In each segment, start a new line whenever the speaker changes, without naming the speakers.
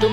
Dun,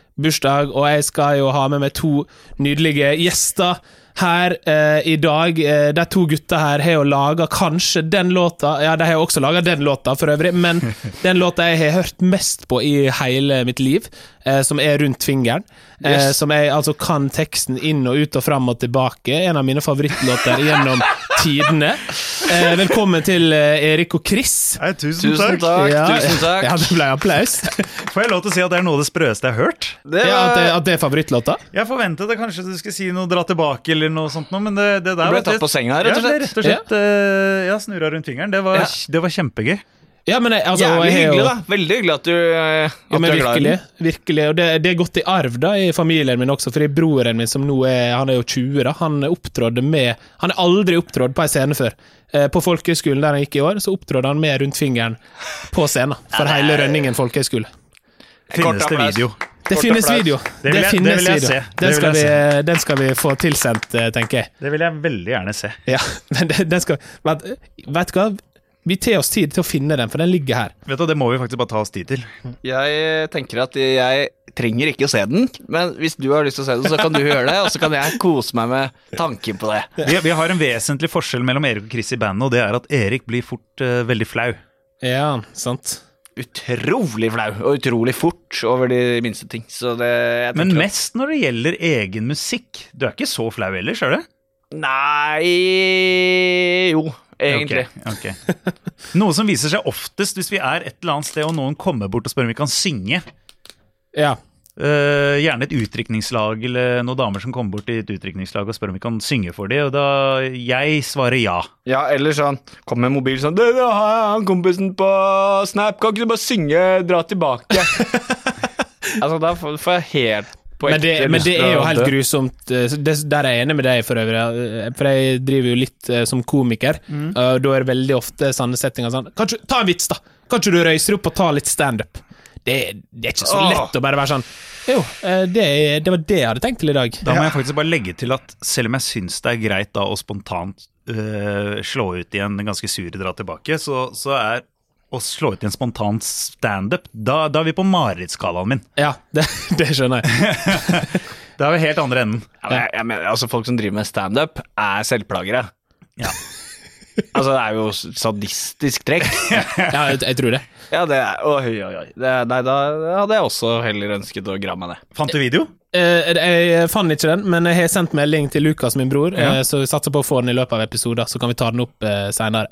bursdag, og jeg skal jo ha med meg to nydelige gjester her eh, i dag. Eh, de to gutta her har jo laga kanskje den låta Ja, de har jo også laga den låta, for øvrig, men den låta jeg har hørt mest på i hele mitt liv eh, som er rundt fingeren. Eh, Som jeg altså kan teksten inn og ut og fram og tilbake. En av mine favorittlåter gjennom tidene. Eh, velkommen til eh, Erik og Chris.
Nei, tusen, takk.
Tusen takk,
Ja,
tusen takk.
Ja, det ble applaus.
Får jeg lov til å si at det er noe av det sprøeste jeg har hørt?
Det
Ja, at, det, at det
var,
er altså favorittlåta?
Jeg forventet det kanskje du skulle si noe dra tilbake eller noe sånt, noe, men det, det der
ble
var-
tatt på senga, rett og
Ja,
slett.
det rett og slett. eh, Ja, snurra rundt fingeren. Det var,
Ja.
det var kjempegøy.
Ja, men jeg, altså,
Jævlig
jeg har jo-
hyggelig, da. Veldig hyggelig at du, eh, at
Ja, men
du er glad i
virkelig,
den.
virkelig. Og det, det er gått i arv da i familien min også, fordi broren min som nå er Han er jo 20, da. Han opptrådde med Han har aldri opptrådt på ei scene før. Eh, På folkehøgskolen der han gikk i år, så opptrådde han med rundt fingeren på scenen. For hele Rønningen folkehøgskole.
Kort
Finnes det
applaus.
video?
Det
Kort
finnes
applaus.
video.
Det vil jeg- det
finnes
vil jeg
video.
se. Det
Den
vil
skal,
jeg
vi, eh, den skal vi få tilsendt, eh, tenker jeg.
Det vil jeg veldig gjerne se.
Ja, men den den skal Vet vet du hva? Vi tar oss tid til å finne den, for den ligger her.
Vet du, Det må vi faktisk bare ta oss tid til.
Jeg eh, tenker at jeg trenger ikke å se den, men hvis du har lyst til å se den, så kan du gjøre det, og så kan jeg kose meg med tanken på det.
Vi, vi har en vesentlig forskjell mellom Erik og Chris i bandet, og det er at Erik blir fort eh, veldig flau.
Ja, sant.
Utrolig flau, og utrolig fort over de minste ting. Så det jeg
Men
tenker at-
mest når det gjelder egen musikk. Du er ikke så flau ellers, er du?
Nei Jo, egentlig.
Ok, ok. Noe som viser seg oftest hvis vi er et eller annet sted og noen kommer bort og spør om vi kan synge.
Ja.
Eh, gjerne et utdrikningslag eller noen damer som kommer bort i et utdrikningslag og spør om vi kan synge for dem, og da jeg svarer ja.
Ja, eller sånn Kom med mobil sånn Du, nå har jeg han kompisen på Snap, kan ikke du bare synge 'Dra tilbake'? altså, da får får jeg helt på
Men det,
ekte
men
lyst
det
til
er
å
jo helt
dø.
grusomt. eh, så Det, der er jeg enig med deg, for øvrig. eh, For jeg driver jo litt eh, som komiker.
Mm.
eh, og Da er det veldig ofte sånne settinger sånn Kanskje, Ta en vits, da! Kanskje du røyser opp og tar litt standup? Det, det er ikke så
Åh.
lett å bare være sånn Jo, eh, det, det var det jeg hadde tenkt til i dag.
Da må jeg faktisk bare legge til at selv om jeg syns det er greit da å spontant eh, slå ut igjen den ganske sure dra tilbake, så, så er å slå ut i en spontan standup da, da er vi på marerittskalaen min.
Ja, det, det skjønner jeg.
Da er vi helt andre enden.
Ja, men jeg, jeg mener, altså, folk som driver med standup, er selvplagere. altså, det er jo sadistisk trekk.
Ja, jeg, jeg tror det.
ja, det er Oi, oi, oi. Det, er- nei, da hadde jeg også heller ønsket å gramme det.
Fant du video?
Eh, jeg fant ikke den, men jeg har sendt melding til Lukas, min bror, eh, så vi satser på å få den i løpet av episoder, så kan vi ta den opp uh, seinere.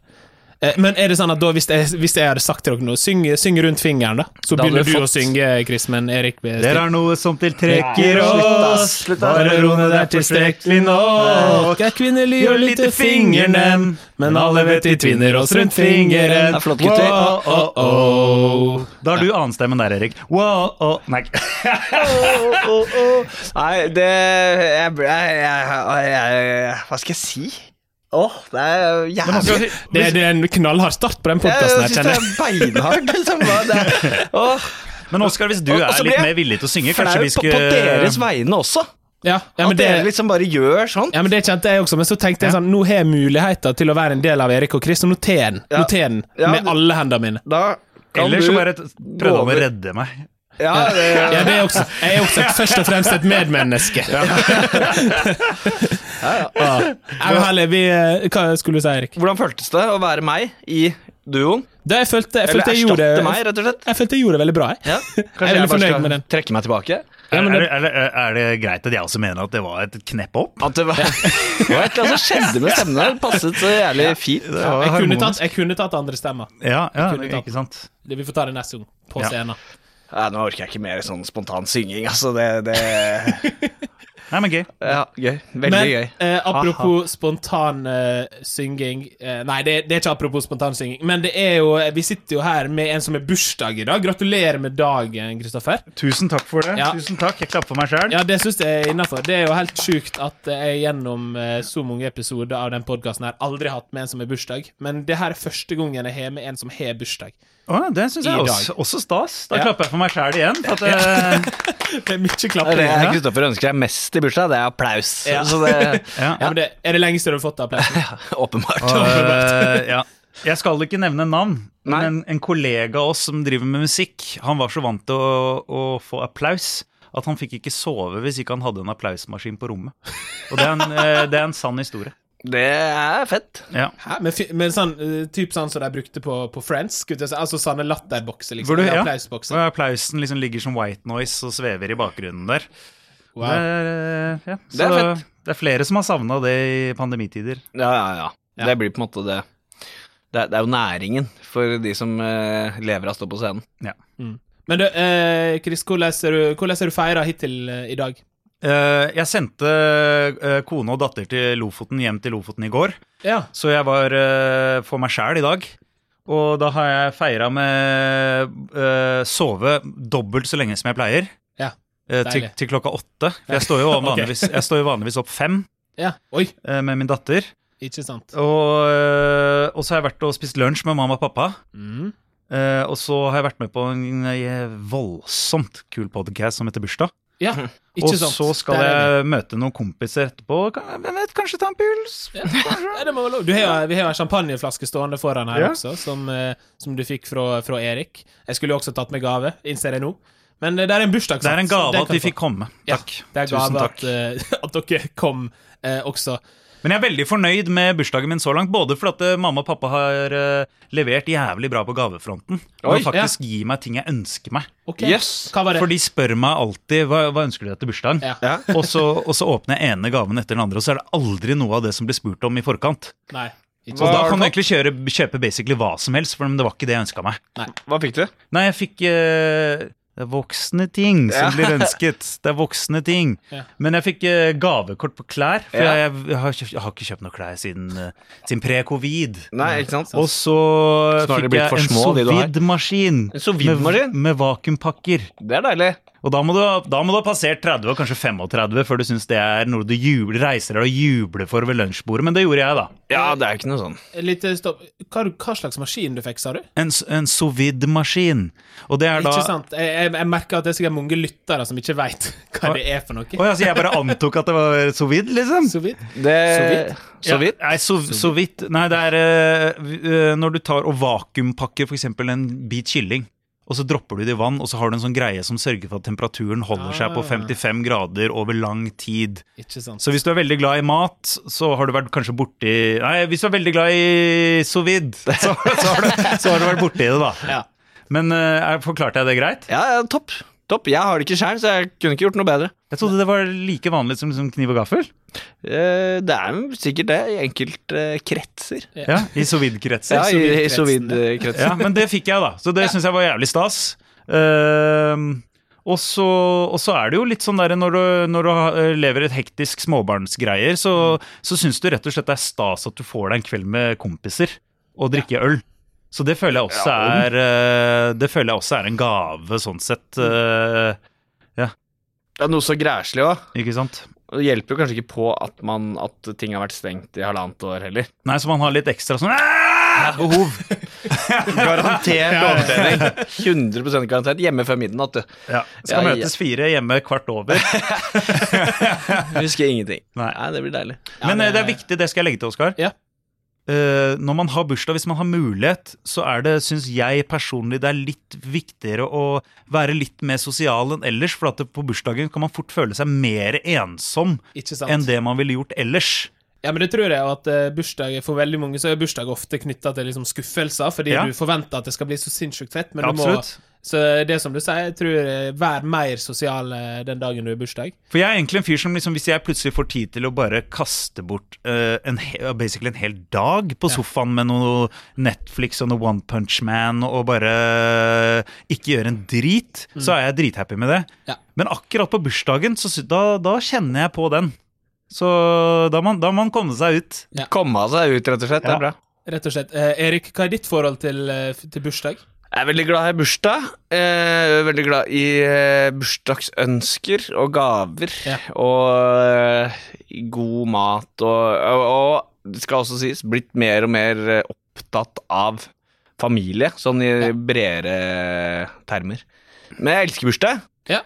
men er det sånn at da, hvis jeg, hvis jeg hadde sagt til dere noe, syng, syng rundt fingeren, da. Så
Da hadde
begynner
du
du å
fått-
synge, Chris, men Erik vil
Det er noe som tiltrekker
Nei, slutt, da.
oss.
Slutt, da.
Bare ro ned, det er tilstrekkelig nå.
Folk er kvinnelige
Gjør litt i fingeren, men alle vet de tvinner oss rundt fingeren.
Det er flott, gutter.
Wow, oh, oh. Da har du annenstemmen der, Erik. Wow, oh. Nei.
Nei, det jeg, ble- jeg, jeg, jeg Hva skal jeg si? Åh, det er jævlig
Det, det er en knallhard start på den podkasten her,
Jeg syns det
kjenner jeg.
er beinhardt, liksom. Hva Det er, åh,
Men Oskar, hvis du
Og- og
er
så blir
litt
jeg
mer villig til å synge, kanskje vi
flaut på, på deres
skulle
vegne også.
Ja, ja,
At
men det,
dere liksom bare gjør sånn.
ja, men det kjente jeg også, men så tenkte jeg sånn Nå har jeg muligheter til å være en del av Erik og Chris, og noter den.
Ja.
Noter den
Ja,
med
du-
alle hendene mine.
Da kan
Eller
du
så bare t- prøvde han
over.
å redde meg.
Ja, det,
Ja, det er også, jeg er også et, først og fremst et medmenneske. Ja. Ja. Nei, men herlig, vi, eh, hva skulle du si, Erik?
Hvordan føltes det å være meg i duoen?
Da, jeg følte, jeg,
Eller
følte jeg, gjorde,
erstatte meg,
jeg,
rett og slett?
følte jeg gjorde det veldig bra. Jeg.
Ja,
Jeg
Kanskje
er
jeg,
veldig
bare
fornøyd
skal
med den.
trekke meg tilbake?
Ja, men
Er,
det,
er, er- er det greit at jeg også mener at det var et knepp opp?
At det var, det var et eller annet som skjedde med stemmen der. Passet så jævlig fint.
Det var
jeg, kunne
harmonisk.
tatt, jeg kunne tatt andre stemmer.
Ja, ja,
kunne tatt.
ikke sant?
Det- Vi får ta det neste gang, på
Ja.
scenen.
Nei, nå orker jeg ikke mer sånn spontan synging, altså. Det, det
Nei, men gøy.
Ja, gøy. Veldig
Men
gøy.
eh, apropos spontan eh, synging eh, Nei, det, det er ikke apropos spontan synging, men det er jo vi sitter jo her med en som har bursdag i dag. Gratulerer med dagen, Kristoffer.
Tusen takk for det.
Ja.
Tusen takk. Jeg klapper for meg sjøl.
Ja, det syns jeg er innafor. Det er jo helt sjukt at jeg gjennom eh, så mange episoder av den podkasten her aldri har hatt med en som har bursdag, men det her er første gangen jeg har med en som har bursdag.
det syns
I
jeg
dag.
også, også stas. Da
Ja.
klapper jeg for meg sjæl igjen. For at, eh,
Det er mye
Det
klapping.
er det
her.
Kristoffer ønsker seg mest i bursdag, det er applaus.
Ja.
Så det
ja.
Ja, men det er det lengste du har fått av applausen?
Åpenbart.
Eh, ja. Jeg skal ikke nevne navn,
Nei.
men en kollega av oss som driver med musikk, han var så vant til å, å få applaus at han fikk ikke sove hvis ikke han hadde en applausmaskin på rommet. Og det er en, eh, det er en sann historie.
Det er fett.
Ja.
Hæ? Men, fy- men sånn, eh, typ sånn som de brukte på, på Friends? skulle jeg si. Altså sånne latterbokser, liksom.
Hvor du-
Eller
ja.
Applausbokser.
Og applausen liksom ligger som white noise og svever i bakgrunnen der.
Wow.
Det, er, eh, ja. Så
Det er fett.
det er flere som har savna det i pandemitider.
Ja, ja, ja.
Ja.
Det blir på en måte det. Det er, det er jo næringen for de som eh, lever av å stå på scenen.
Men du, eh, Chris, hvordan er du, hvordan er du feira hittil eh, i dag?
Eh, jeg sendte eh, kone og datter til Lofoten hjem til Lofoten i går.
Ja.
Så jeg var eh, for meg sjæl i dag. Og da har jeg feira med eh, sove dobbelt så lenge som jeg pleier.
Ja,
Eh, til,
deilig.
til klokka åtte. For jeg står jo
Ok.
vanligvis, jeg står jo vanligvis opp fem
ja. Oi,
eh, med min datter.
ikke sant.
Og, eh, og så har jeg vært og spist lunsj med mamma og pappa.
Mm.
Eh, og så har jeg vært med på en eh, voldsomt kul podcast som heter Bursdag.
Ja, ikke
Og
sant.
så skal
Der er vi.
jeg møte noen kompiser etterpå. Kan- Hvem vet, kanskje ta en puls?
ja, det må være lov. Du har, jo- Vi har jo en champagneflaske stående foran her
Ja.
også, som, eh, som du fikk fra, fra Erik. Jeg skulle jo også tatt med gave, innser jeg nå. Men eh, det er en bursdag.
Det er en
sant? Så
gave
den
at
kan
vi
få.
fikk komme.
Ja,
Takk.
Det er
Tusen
gave at,
takk.
eh, at dere kom eh, også.
Men jeg er veldig fornøyd med bursdagen min så langt. Både fordi at eh, mamma og pappa har eh, levert jævlig bra på gavefronten. Og
Oi,
faktisk gir meg ting jeg ønsker meg.
Ok,
Yes.
Hva var det?
For de spør meg alltid hva, hva ønsker du deg til bursdagen.
Ja.
Ja.
og, så, og så åpner jeg ene gaven etter den andre, og så er det aldri noe av det som blir spurt om i forkant.
Nei. Ikke
Og
Hva
sant.
da
har
kan
du
du egentlig kjøre, kjøpe basically hva som helst, for det var ikke det jeg ønska meg.
Hva fikk du?
Nei, jeg fikk eh, det er voksne ting som
Ja.
blir ønsket. Det er voksne ting.
Ja.
Men jeg fikk eh, gavekort på klær, for
Ja.
jeg, jeg, har, kjøpt- jeg har ikke kjøpt noen klær siden, eh, siden pre-covid.
Nei, ikke sant?
Og så
Så nå har de
fikk
blitt
jeg
for
en
små, de du har.
sovidmaskin
En sovidmaskin?
med, med vakuumpakker.
Det er deilig.
Og da må, du, ha- da må du ha passert 30 og kanskje 35 før du syns det er noe du jubler, reiser deg og jubler for ved lunsjbordet, men det gjorde jeg, da.
Ja, det er jo ikke noe sånn.
Litt eh, stopp. Hva, hva slags maskin du fikk, sa du?
En, s- en sovidmaskin. Og det er da
Ikke sant? Jeg, jeg, jeg merker at det er sikkert mange lyttere som ikke veit hva det er for
Å
noe.
ja, så jeg bare antok at det var sovid, liksom?
Så vidt.
Det...
Så vidt.
Så vidt?
Ja, nei, så, så vidt. Nei, det er eh, vi- eh, når du tar og vakuumpakker f.eks. en bit kylling, og så dropper du det i vann, og så har du en sånn greie som sørger for at temperaturen holder seg på
Ah.
55 grader over lang tid.
Ikke sant.
Så hvis du er veldig glad i mat, så har du vært kanskje borti Nei, hvis du er veldig glad i sous vide, så, så, har, du, så har du vært borti det, da.
Ja.
Men eh, er- forklarte jeg det greit?
Ja, ja, topp. Topp. Jeg har det ikke sjøl, så jeg kunne ikke gjort noe bedre.
Jeg trodde det var like vanlig som liksom kniv og gaffel.
Eh, Det er jo sikkert det i enkelte eh, kretser.
Ja, I sous vide-kretser.
Ja, i, i
sovidkretsen,
så vidt eh, kretser.
Ja, men det fikk jeg, da. Så det syns jeg var jævlig stas. Ehm, og så, og så er det jo litt sånn der når du, når du har- lever et hektisk småbarnsgreier, så,
Mm.
så syns du rett og slett det er stas at du får deg en kveld med kompiser og drikke øl. Så det føler jeg også
Ja.
er eh, Det føler jeg også er en gave, sånn sett.
Mm.
eh,
Det er noe så græslig òg.
Ikke sant?
Det hjelper jo kanskje ikke på at, man, at ting har vært stengt i halvannet år heller.
Nei, så man har litt ekstra sånn «Æ!» behov.
Garantert
ja, ja.
overtenning. 100 garantert. Hjemme før midnatt, du.
Ja. Skal
Ja, ja.
møtes fire hjemme kvart over.
Husker ingenting.
Nei.
Nei, det blir deilig.
Men
Ja,
eh, det er viktig, det skal jeg legge til, Oskar.
Ja.
Eh, når man har bursdag, hvis man har mulighet, så er det, syns jeg personlig, det er litt viktigere å være litt mer sosial enn ellers. For at det, på bursdagen kan man fort føle seg mer ensom
Ikke sant.
enn det man ville gjort ellers.
Ja, men det tror jeg at eh, bursdag For veldig mange så er bursdag ofte knytta til liksom skuffelser, fordi
Ja.
du forventer at det skal bli så sinnssykt fett, men
Ja,
du må
absolutt.
Så det er som du sier, jeg tror eh, vær mer sosial eh, den dagen du har bursdag.
For jeg er egentlig en fyr som liksom, hvis jeg plutselig får tid til å bare kaste bort eh, en, he- basically en hel dag på sofaen med noe Netflix og noe One Punch Man og bare eh, ikke gjøre en drit, så er jeg drithappy med det.
Mm. Ja.
Men akkurat på bursdagen, så sy- da, da kjenner jeg på den. Så da må man, da må man komme seg ut.
Komme seg ut, rett og slett. Det
Ja.
er bra.
Rett og slett. Eh, Erik, hva er ditt forhold til, eh, f- til bursdag?
Jeg er veldig glad i bursdag. Eh, veldig glad i eh, bursdagsønsker og gaver.
Ja.
Og eh, god mat og, og, og det skal også sies, blitt mer og mer eh, opptatt av familie, sånn i bredere termer. Men jeg elsker bursdag.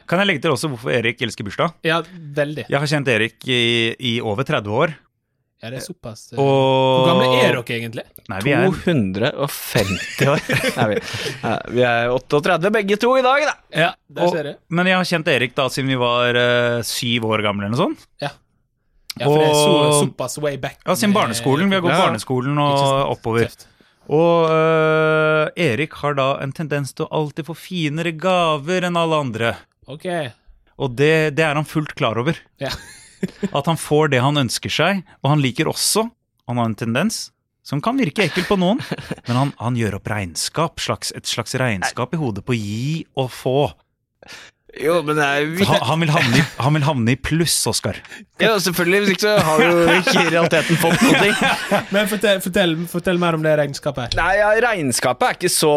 Kan jeg legge til også hvorfor Erik elsker bursdag?
Ja, veldig.
Jeg har kjent Erik i, i over 30 år.
Ja, det er såpass. eh.
Og
Hvor gamle er dere egentlig?
Nei, vi er
250 år. Nei, vi, nei, vi er 38 begge to i dag, da.
Ja, der
Og-
ser du.
Men jeg har kjent Erik da siden vi var eh, syv år gamle eller noe sånt.
Ja, for det er så,
og-
såpass way back.
Ja, siden barneskolen. Vi har gått
Ja.
barneskolen
Ikke
og
sant.
oppover.
Tøft.
Og eh, Erik har da en tendens til å alltid få finere gaver enn alle andre.
Ok.
Og det, det er han fullt klar over.
Ja.
At han får det han ønsker seg, og han liker også Han har en tendens som kan virke ekkel på noen, men han, han gjør opp regnskap, slags, et slags regnskap i hodet på gi og få.
Jo, men det er jo
Han, han, vil, havne i, han vil havne i pluss, Oskar.
Ja, selvfølgelig. Hvis ikke så har vi jo ikke i realiteten fått noe.
Men fortell, fortell, fortell mer om det regnskapet. her.
Nei, ja, regnskapet er ikke så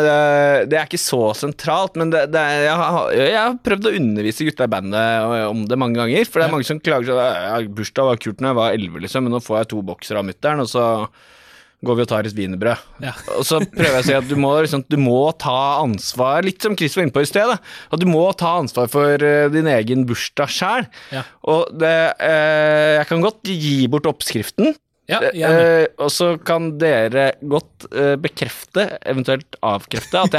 eh, Det er ikke så sentralt, men det, det er, jeg, har, jeg har prøvd å undervise gutta i bandet eh, om det mange ganger. For det er mange som klager sånn «Ja, Bursdag var kult når jeg var 11, liksom, men nå får jeg to bokser av mutter'n, og så går vi og tar et wienerbrød.
Ja.
Og så prøver jeg å si at du må, liksom, du må ta ansvar, litt som Chris var inne på i sted, da, at du må ta ansvar for eh, din egen bursdag sjæl.
Ja.
Og det, eh, jeg kan godt gi bort oppskriften.
Ja, gjerne.
Eh, og så kan dere godt eh, bekrefte, eventuelt avkrefte, at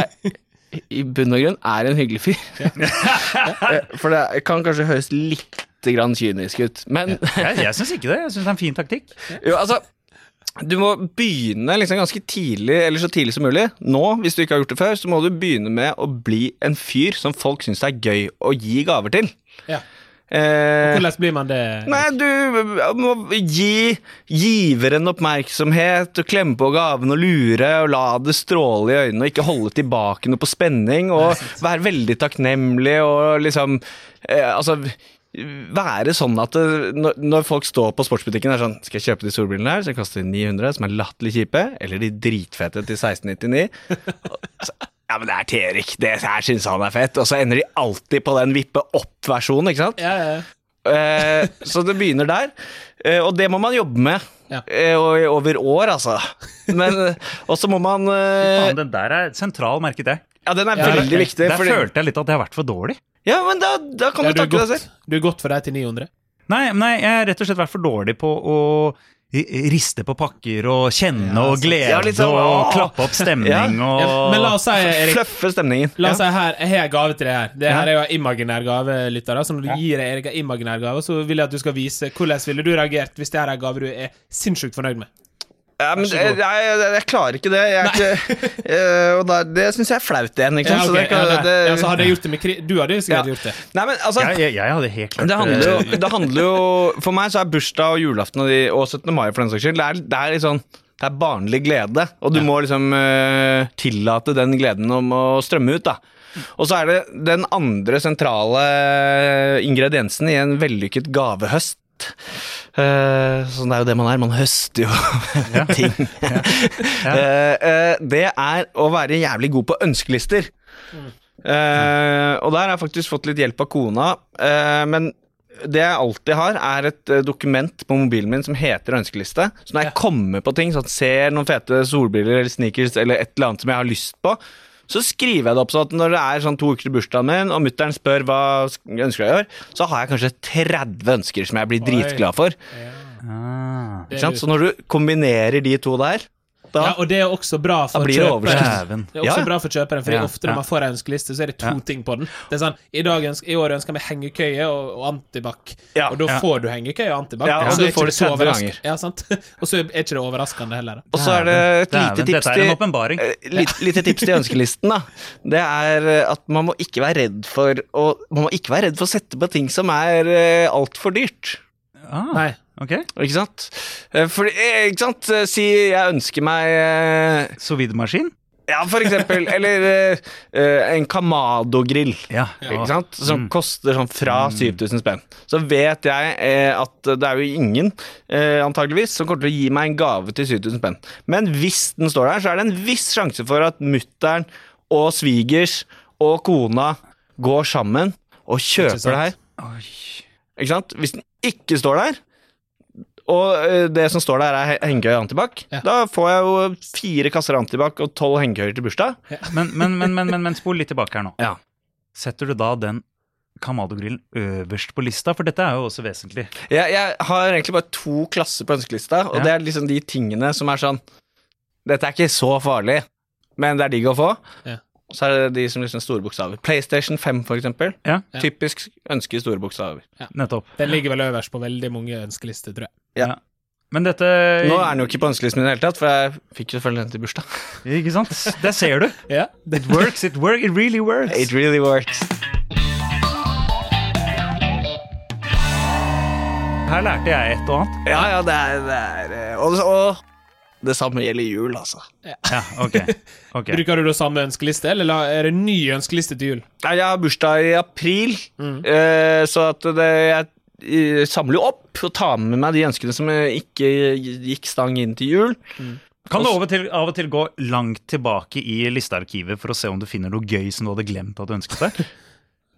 jeg i bunn og grunn er en hyggelig fyr. Eh, For det kan kanskje høres litt grann kynisk ut, men
Jeg, jeg syns ikke det. Jeg syns det er en fin taktikk.
jo, altså du må begynne liksom ganske tidlig, eller så tidlig som mulig. Nå, hvis du ikke har gjort det før, så må du begynne med å bli en fyr som folk syns det er gøy å gi gaver til.
Ja.
Eh,
Hvordan blir man det?
Nei, du må gi giveren oppmerksomhet og klemme på gaven og lure og la det stråle i øynene og ikke holde tilbake noe på spenning og være veldig takknemlig og liksom eh, Altså være sånn at det, når, når folk står på sportsbutikken er sånn Skal jeg kjøpe de solbrillene her som koster 900, som er latterlig kjipe, eller de dritfete til 1699? Så, ja, men det er til Erik. Det her syns han er fett. Og så ender de alltid på den vippe opp-versjonen, ikke sant?
Ja, ja, ja.
Eh, så det begynner der. Eh, og det må man jobbe med
Ja.
eh, og, over år, altså. Men, og så må man eh,
Faen, den der er sentral, merket jeg.
Ja, den er
Ja,
veldig
ok.
viktig.
Der
fordi-
følte jeg litt at jeg har vært for dårlig.
Ja, men da, da kan
Ja,
du
du, er
takke deg selv.
godt, du er godt for deg til 900.
Nei, men nei, jeg har rett og slett vært for dårlig på å ri- riste på pakker og kjenne
Ja,
og
sant.
glede
Ja, litt sånn,
og
åh.
klappe opp stemning
Ja.
og
Ja, men la oss si, Erik
Fløffe stemningen.
La oss si her, Jeg har en gave til deg her. Det her
Ja.
er jo en imaginær gave, lyttere. Så når du gir deg Erik en imaginær gave, så vil jeg at du skal vise hvordan ville du reagert hvis det her er en gave du er sinnssykt fornøyd med.
Ja, men
Vær så god.
jeg, jeg, jeg klarer ikke det. Jeg er ikke, eh, og da, det syns jeg er flaut igjen. Ikke
Ja,
sant? Så
ok,
det kan-
ja, nei.
det-
ja, så hadde jeg gjort det med kri Du hadde jo sikkert
Ja.
gjort det.
Nei, men altså
jeg, jeg, jeg hadde helt klart
Det handler,
eh,
jo, det handler jo For meg så er bursdag og julaften og, de, og 17. mai for den saks skyld Det er, det er litt sånn det er barnlig glede, og du må liksom eh, tillate den gleden om å strømme ut. da. Og så er det den andre sentrale eh, ingrediensen i en vellykket gavehøst. Eh, sånn det er jo det man er, man høster jo ting. Eh, eh, det er å være jævlig god på ønskelister. Eh, og der har jeg faktisk fått litt hjelp av kona, eh, men det jeg alltid har, er et eh, dokument på mobilen min som heter ønskeliste. Så når jeg kommer på ting, sånn at jeg ser noen fete solbriller eller sneakers eller et eller annet som jeg har lyst på, så skriver jeg det opp sånn at når det er sånn to uker til bursdagen min, og mutter'n spør hva sk- ønsker jeg gjør, så har jeg kanskje 30 ønsker som jeg blir dritglad for.
Ja.
ah.
Det
Ikke
er
sant?
lurt.
Så når du kombinerer de to der, da.
Ja, og det er også bra for
Da blir det
kjøperen.
overskrift.
Dæven.
Det er også
Ja.
bra for kjøperen, Fordi
Ja,
ofte
ja.
når man får ei ønskeliste, så er det to
Ja.
ting på den. Det er sånn, I, dag ønsker, i år ønsker vi hengekøye og, og antibac,
Ja,
og da
ja.
får du hengekøye og antibac.
Ja, og
så
du
er ikke
får det
så
30
overrask-
ganger.
Ja, sant? Og så er ikke det overraskende heller.
Og så er det et
Dæven,
lite
dette
tips
er en
til
åpenbaring.
Eh, Litt, lite tips til ønskelisten, da. Det er eh, at man må ikke være redd for å, man må ikke være redd for å sette på ting som er eh, altfor dyrt.
Ah,
Nei.
ok.
Ikke sant? Eh, Fordi, eh, ikke sant? Eh, Si jeg ønsker meg eh,
Sovidmaskin?
Ja, for eksempel. Eller eh, eh, en Kamado-grill.
Ja.
Ikke sant? Som
Mm.
koster sånn fra 7000 spenn. Så vet jeg eh, at det er jo ingen, eh, antageligvis, som kommer til å gi meg en gave til 7000 spenn. Men hvis den står der, så er det en viss sjanse for at mutter'n og svigers og kona går sammen og
Ikke
kjøper
sant?
det her.
Oi.
Ikke sant? Hvis den ikke står der, og eh, det som står der er he- hengekøye og antibac,
Ja.
da får jeg jo fire kasser antibac og tolv hengekøyer til bursdag.
Men, men, men, men, men, men spol litt tilbake her nå.
Ja.
Setter du da den Kamado-grillen øverst på lista? For dette er jo også vesentlig.
Jeg, jeg har egentlig bare to klasser på ønskelista, og
Ja.
det er liksom de tingene som er sånn Dette er ikke så farlig, men det er digg å få.
Ja.
Og Så er det de som liksom store bokstaver. PlayStation 5, for eksempel.
Ja.
Ja.
Typisk ønske i store bokstaver.
Nettopp.
Den ligger vel øverst på veldig mange ønskelister, tror jeg.
Ja.
Men dette
Nå er den jo ikke på ønskelisten min i det hele tatt, for jeg fikk jo selvfølgelig den til bursdag.
Ikke sant? Der ser du.
Ja,
It works, it works, it really works.
It really works.
Her lærte jeg et og annet.
Ja, ja, det er, det er eh, og, og det samme gjelder jul, altså.
Ja, ok. Ok.
Bruker du da samme ønskeliste, eller la- er det en ny ønskeliste til jul?
Nei, jeg har bursdag i april, eh, så at det, jeg eh, samler jo opp og tar med meg de ønskene som eh, ikke gikk stang inn til jul.
Kan du av og, til, av og til gå langt tilbake i listearkivet for å se om du finner noe gøy som du hadde glemt at du ønsket deg?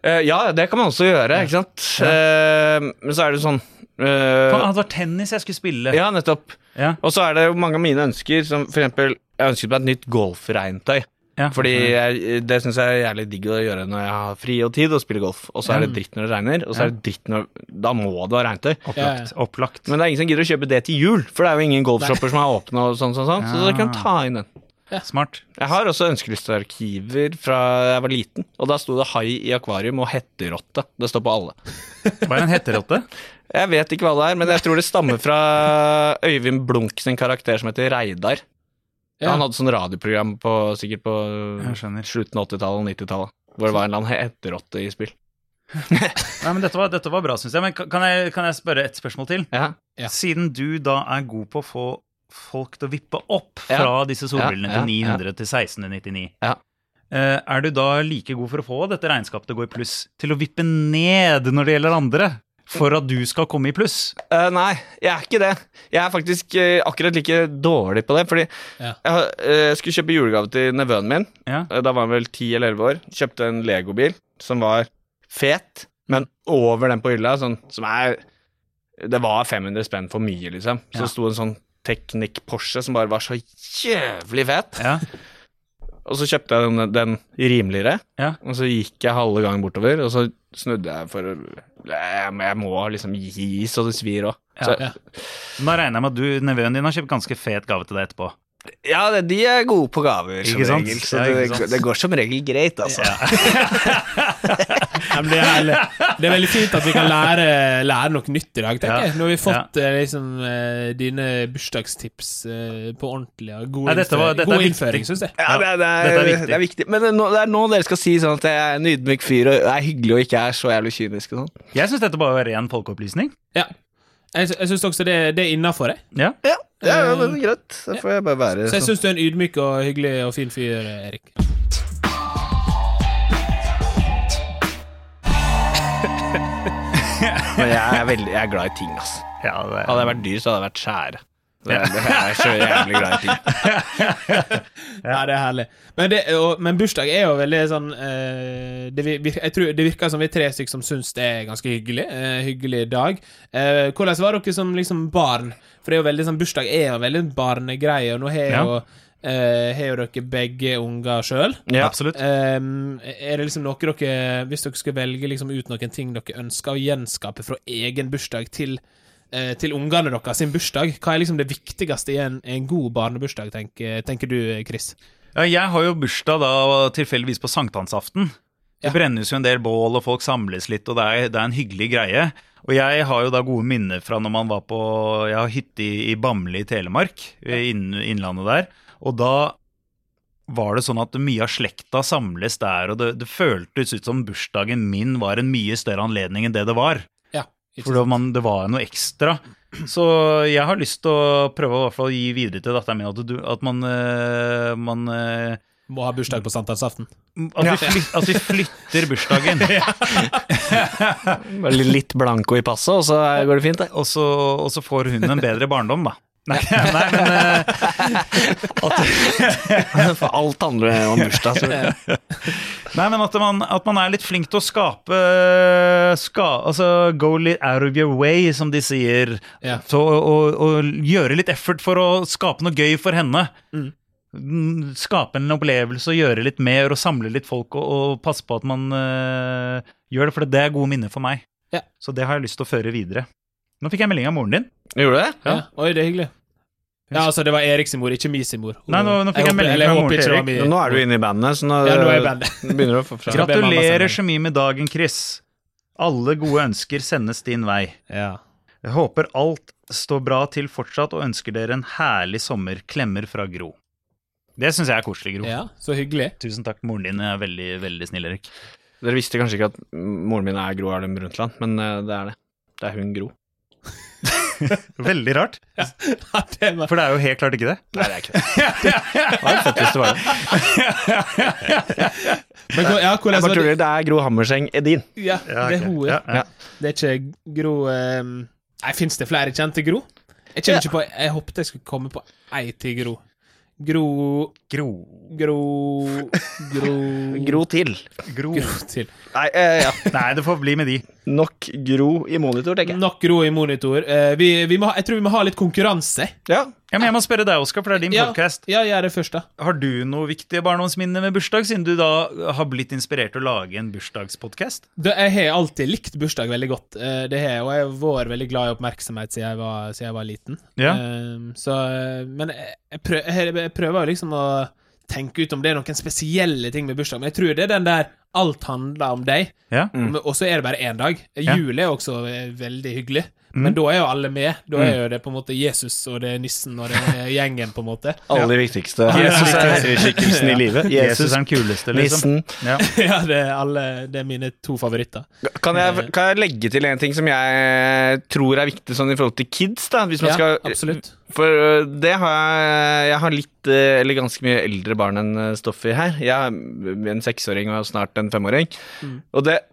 Eh, ja, det kan man også gjøre, ikke sant? Eh, men så er det jo sånn eh,
Faen, det var tennis jeg skulle spille.
Ja, nettopp.
Ja.
Og så er det jo mange av mine ønsker, som for eksempel Jeg ønsket meg et nytt golfregntøy.
Ja.
Fordi jeg, det syns jeg er jævlig digg å gjøre når jeg har fri og tid og spiller golf. Og så er det dritt når det regner, og så er det dritt når Da må det være regntøy.
Opplagt. opplagt.
Men det er ingen som gidder å kjøpe det til jul, for det er jo ingen golfshopper som er åpne. og sånn, sånn, sånn, Så dere kan ta inn den.
Smart.
Jeg har også ønskelistearkiver fra jeg var liten, og da sto det hai i akvarium og hetterotte. Det står på alle.
Hva er en hetterotte?
Jeg vet ikke hva det er, men jeg tror det stammer fra Øyvind Blunk sin karakter som heter Reidar.
Ja.
Han hadde sånn radioprogram på, sikkert på
Jeg skjønner.
slutten av 80-tallet og 90-tallet, hvor det var en eller annen hetterotte i spill.
Nei, men dette var, dette var bra, syns jeg. Men kan- kan jeg, kan jeg spørre et spørsmål til?
Ja.
Ja.
Siden du da er god på å få folk til å vippe opp
Ja.
fra disse solbrillene
Ja, ja,
til
ja.
900 til 1699,
Ja.
eh, er du da like god for å få dette regnskapet til å gå i pluss, til å vippe ned når det gjelder andre, for at du skal komme i pluss?
Eh, nei, jeg er ikke det. Jeg er faktisk eh, akkurat like dårlig på det. Fordi
Ja.
jeg, har- eh, jeg skulle kjøpe julegave til nevøen min.
Ja.
Eh, Da var han vel 10 eller 11 år. Kjøpte en legobil som var fet, men over den på hylla, sånn, som er Det var 500 spenn for mye, liksom. Så
Ja.
sto en sånn Technic Porsche som bare var så jævlig fet.
Ja.
Og så kjøpte jeg den, den rimeligere,
Ja.
og så gikk jeg halve gangen bortover, og så snudde jeg for å Jeg jeg må liksom gi så det svir òg.
Ja.
Ja.
Men Da regner jeg med at du, nevøen din har kjøpt ganske fet gave til deg etterpå.
Ja, det- de er gode på gaver, som
Ikke sant?
regel. Så
Ja, ikke
det,
sant.
det går som regel greit, altså.
Ja, men det, er, herlig. det er veldig fint at vi kan lære, lære noe nytt i dag, tenker
Ja.
jeg. Nå har vi fått eh, liksom, eh, dine bursdagstips eh, på ordentlig. og God,
Nei, dette var-
innføring-
dette er
god
viktig.
innføring, syns jeg.
Ja, det, er- det, er,
Dette er
det,
viktig.
er viktig. Men det er, nå, det er nå dere skal si sånn at jeg er en ydmyk fyr og er hyggelig og ikke er så jævlig kynisk. og sånn.
Jeg syns dette bare var ren folkeopplysning.
Ja. Jeg, sy- jeg syns også det, det er innafor.
Ja.
Ja, ja, Eh, ja, men greit. Da får jeg bare være sånn.
Så jeg syns du er en ydmyk og hyggelig og fin fyr, eh, Erik.
Men jeg er, veldig, jeg er glad i ting, altså.
ja det,
Hadde jeg vært dyr, så hadde jeg vært skjære. Det er- Jeg er så jævlig glad i ting.
Ja, det er herlig. Men, det, og, men bursdag er jo veldig sånn eh, det, vir- vir- Jeg tror det virker som vi er tre stykker som syns det er ganske hyggelig. eh, hyggelig dag. Eh, hvordan var dere som liksom barn? For det er jo veldig sånn, bursdag er jo veldig en barnegreie, og nå har
Ja.
jo eh, har jo dere begge unger sjøl.
Ja. Eh,
Absolutt.
er det liksom noe dere Hvis dere skulle velge liksom ut noen ting dere ønsker å gjenskape fra egen bursdag til eh, til ungene deres sin bursdag? Hva er liksom det viktigste i en, en god barnebursdag, tenker, tenker du, Chris?
Ja, jeg har jo bursdag da tilfeldigvis på sankthansaften. Det
Ja.
brennes jo en del bål, og folk samles litt, og det er, det er en hyggelig greie. Og jeg har jo da gode minner fra når man var på Jeg har hytte i, i Bamble i Telemark, i inn, innlandet der. Og da var det sånn at mye av slekta samles der, og det, det føltes ut som bursdagen min var en mye større anledning enn det det var.
Ja, ikke
For
sant?
det, man, det var noe ekstra. Så jeg har lyst til å prøve å i hvert fall gi videre til datteren min at, du, at man, eh, man eh,
Må ha bursdag på sankthansaften.
at, vi flyt, at vi flytter bursdagen.
Bare litt blanko i passet, og så går det fint, det.
Og så, og så får hun en bedre barndom, da. Nei, nei men eh,
For alt handler jo om bursdag. Så.
Nei, men at man, at man er litt flink til å skape ska, Altså go litt out of your way, som de sier.
Ja.
Så, og, og gjøre litt effort for å skape noe gøy for henne. Mm, Skape en opplevelse og gjøre litt mer og samle litt folk og, og passe på at man eh, gjør det, for det er gode minner for meg.
Ja.
Så det har jeg lyst til å føre videre. Nå fikk jeg melding av moren din.
Gjorde du det?
Ja. Oi, det er hyggelig. Ja, altså, det var Eriks mor, ikke mi sin mor. Hun-
Nei, nå- nå fikk jeg
håper-
melding
eller
fra
håper
moren
ikke
til
det var
Erik.
mi-
Nå er du inne i bandet, så nå,
Ja, nå er jeg i bandet.
begynner du å få
Gra-
fra
be mamma sende
Gratulerer
melding.
så mye med dagen, Chris. Alle gode ønsker sendes din vei.
Ja.
Jeg håper alt står bra til fortsatt og ønsker dere en herlig sommer. Klemmer fra Gro. Det syns jeg er koselig, Gro.
ja, så hyggelig.
Tusen takk. Moren din er veldig veldig snill, Erik.
Dere visste kanskje ikke at moren min er Gro Harlem Brundtland, men eh, det er det. Det er hun Gro.
Veldig rart,
Ja, det var
for det er jo helt klart ikke det.
Nei, det er ikke det. Det var det fetteste var det.
Men hvor- ja, hvordan
Jeg bare
var det?
tuller, Altså, det er Gro Hammerseng Edin.
Ja, det er hun, ja.
Ja.
Det er ikke Gro ehm, Nei, fins det flere kjente Gro? Jeg kommer ikke på Jeg håpet jeg skulle komme på ei til Gro. Gro
Gro
Gro Gro
Gro til.
Gro.
Gro til.
Nei, eh, ja.
Nei, det får bli med de.
Nok Gro i monitor, tenker jeg.
Nok Gro i monitor. Eh, vi, vi må, ha- jeg tror vi må ha litt konkurranse.
Ja.
Ja, men Jeg må spørre deg, Oskar, for det er din
Ja,
podcast.
ja, gjør det først, da.
Har du noe viktige barndomsminner med bursdag, siden du da har blitt inspirert til å lage en bursdagspodkast?
Det, jeg har alltid likt bursdag veldig godt, eh, det har jeg, og jeg har vært veldig glad i oppmerksomhet siden jeg var, siden jeg var liten.
Ja.
Eh, så, eh, men jeg, jeg, prø- jeg, jeg prøver jo liksom å tenke ut om det er noen spesielle ting med bursdag, men jeg tror det er den der alt handler om deg,
Ja?
men- og så er det bare én dag.
Mm. Ja. Mm.
Jul er jo også eh, veldig hyggelig, men da er jo alle med. Da er jo det på en måte Jesus, og det er nissen, og det er gjengen, på en måte.
Alle de viktigste
Jesus er
herreskikkelsen i livet.
Jesus er den kuleste, liksom.
nissen.
Ja.
ja, det er, alle, det er mine to favoritter.
Kan jeg, kan jeg legge til en ting som jeg tror er viktig sånn i forhold til kids? da Hvis man
Ja,
skal
absolutt.
For øh, det har jeg Jeg har litt, øh, eller ganske mye eldre barn enn øh, Stoffi her. Jeg er en seksåring og snart en femåring. Og det øh,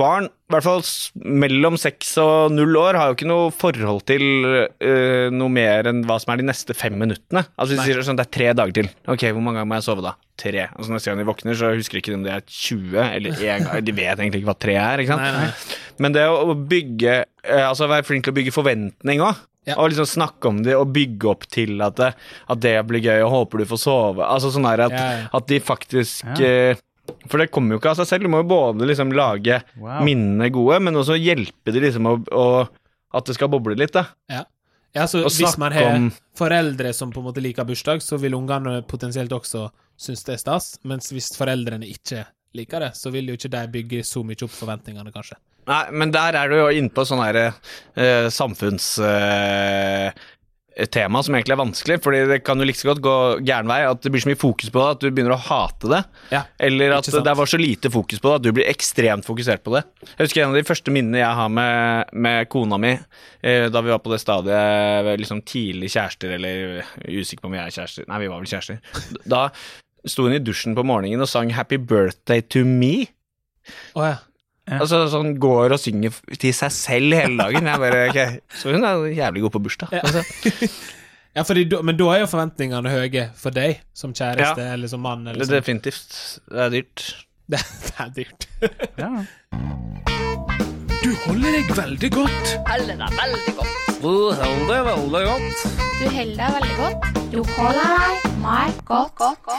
Barn, i hvert fall s- mellom seks og null år, har jo ikke noe forhold til øh, noe mer enn hva som er de neste fem minuttene. Altså hvis de sier sånn, det er tre dager til. Ok, hvor mange ganger må jeg sove da? Tre. Og så neste gang de våkner, så husker ikke de om det er 20 eller én gang. De vet egentlig ikke hva tre er, ikke sant?
Nei, nei.
Men det å å bygge eh, Altså være flink til å bygge forventning òg.
Ja.
Og liksom snakke om det og bygge opp til at det, at det blir gøy, og håper du får sove. Altså sånn her at,
Ja, ja.
at de faktisk eh, For det kommer jo ikke av seg selv. Du må jo både liksom lage
Wow.
minnene gode, men også hjelpe de liksom å, å At det skal boble litt, da.
Ja. ja så
Og
hvis man
snakke
har
om-
foreldre som på en måte liker bursdag, så vil ungene potensielt også synes det er stas, mens hvis foreldrene ikke liker det, så vil jo ikke de bygge så mye opp forventningene, kanskje.
Nei, men der er du jo inne på sånn her eh, samfunns... eh, tema som egentlig er vanskelig, fordi det kan jo like så godt gå gæren vei, at det blir så mye fokus på det at du begynner å hate det.
Ja.
Eller at
Ikke sant?
det var så lite fokus på det at du blir ekstremt fokusert på det. Jeg husker en av de første minnene jeg har med, med kona mi, eh, da vi var på det stadiet ved liksom tidlig kjærester, eller usikker på om vi er kjærester Nei, vi var vel kjærester. Da sto hun i dusjen på morgenen og sang 'Happy Birthday to Me'.
Å ja.
Ja.
Altså sånn går og synger til seg selv hele dagen. Jeg bare, ok. Så hun er jævlig god på bursdag. Altså,
Ja. ja fordi, da- men da er jo forventningene høye for deg, som kjæreste eller som mann. Eller
Det,
sånn.
definitivt. Det er dyrt.
det, det er dyrt.
Ja.
Eller da veldig godt.
Du holder deg veldig godt.
Du holder deg veldig godt. Du holder deg meg godt.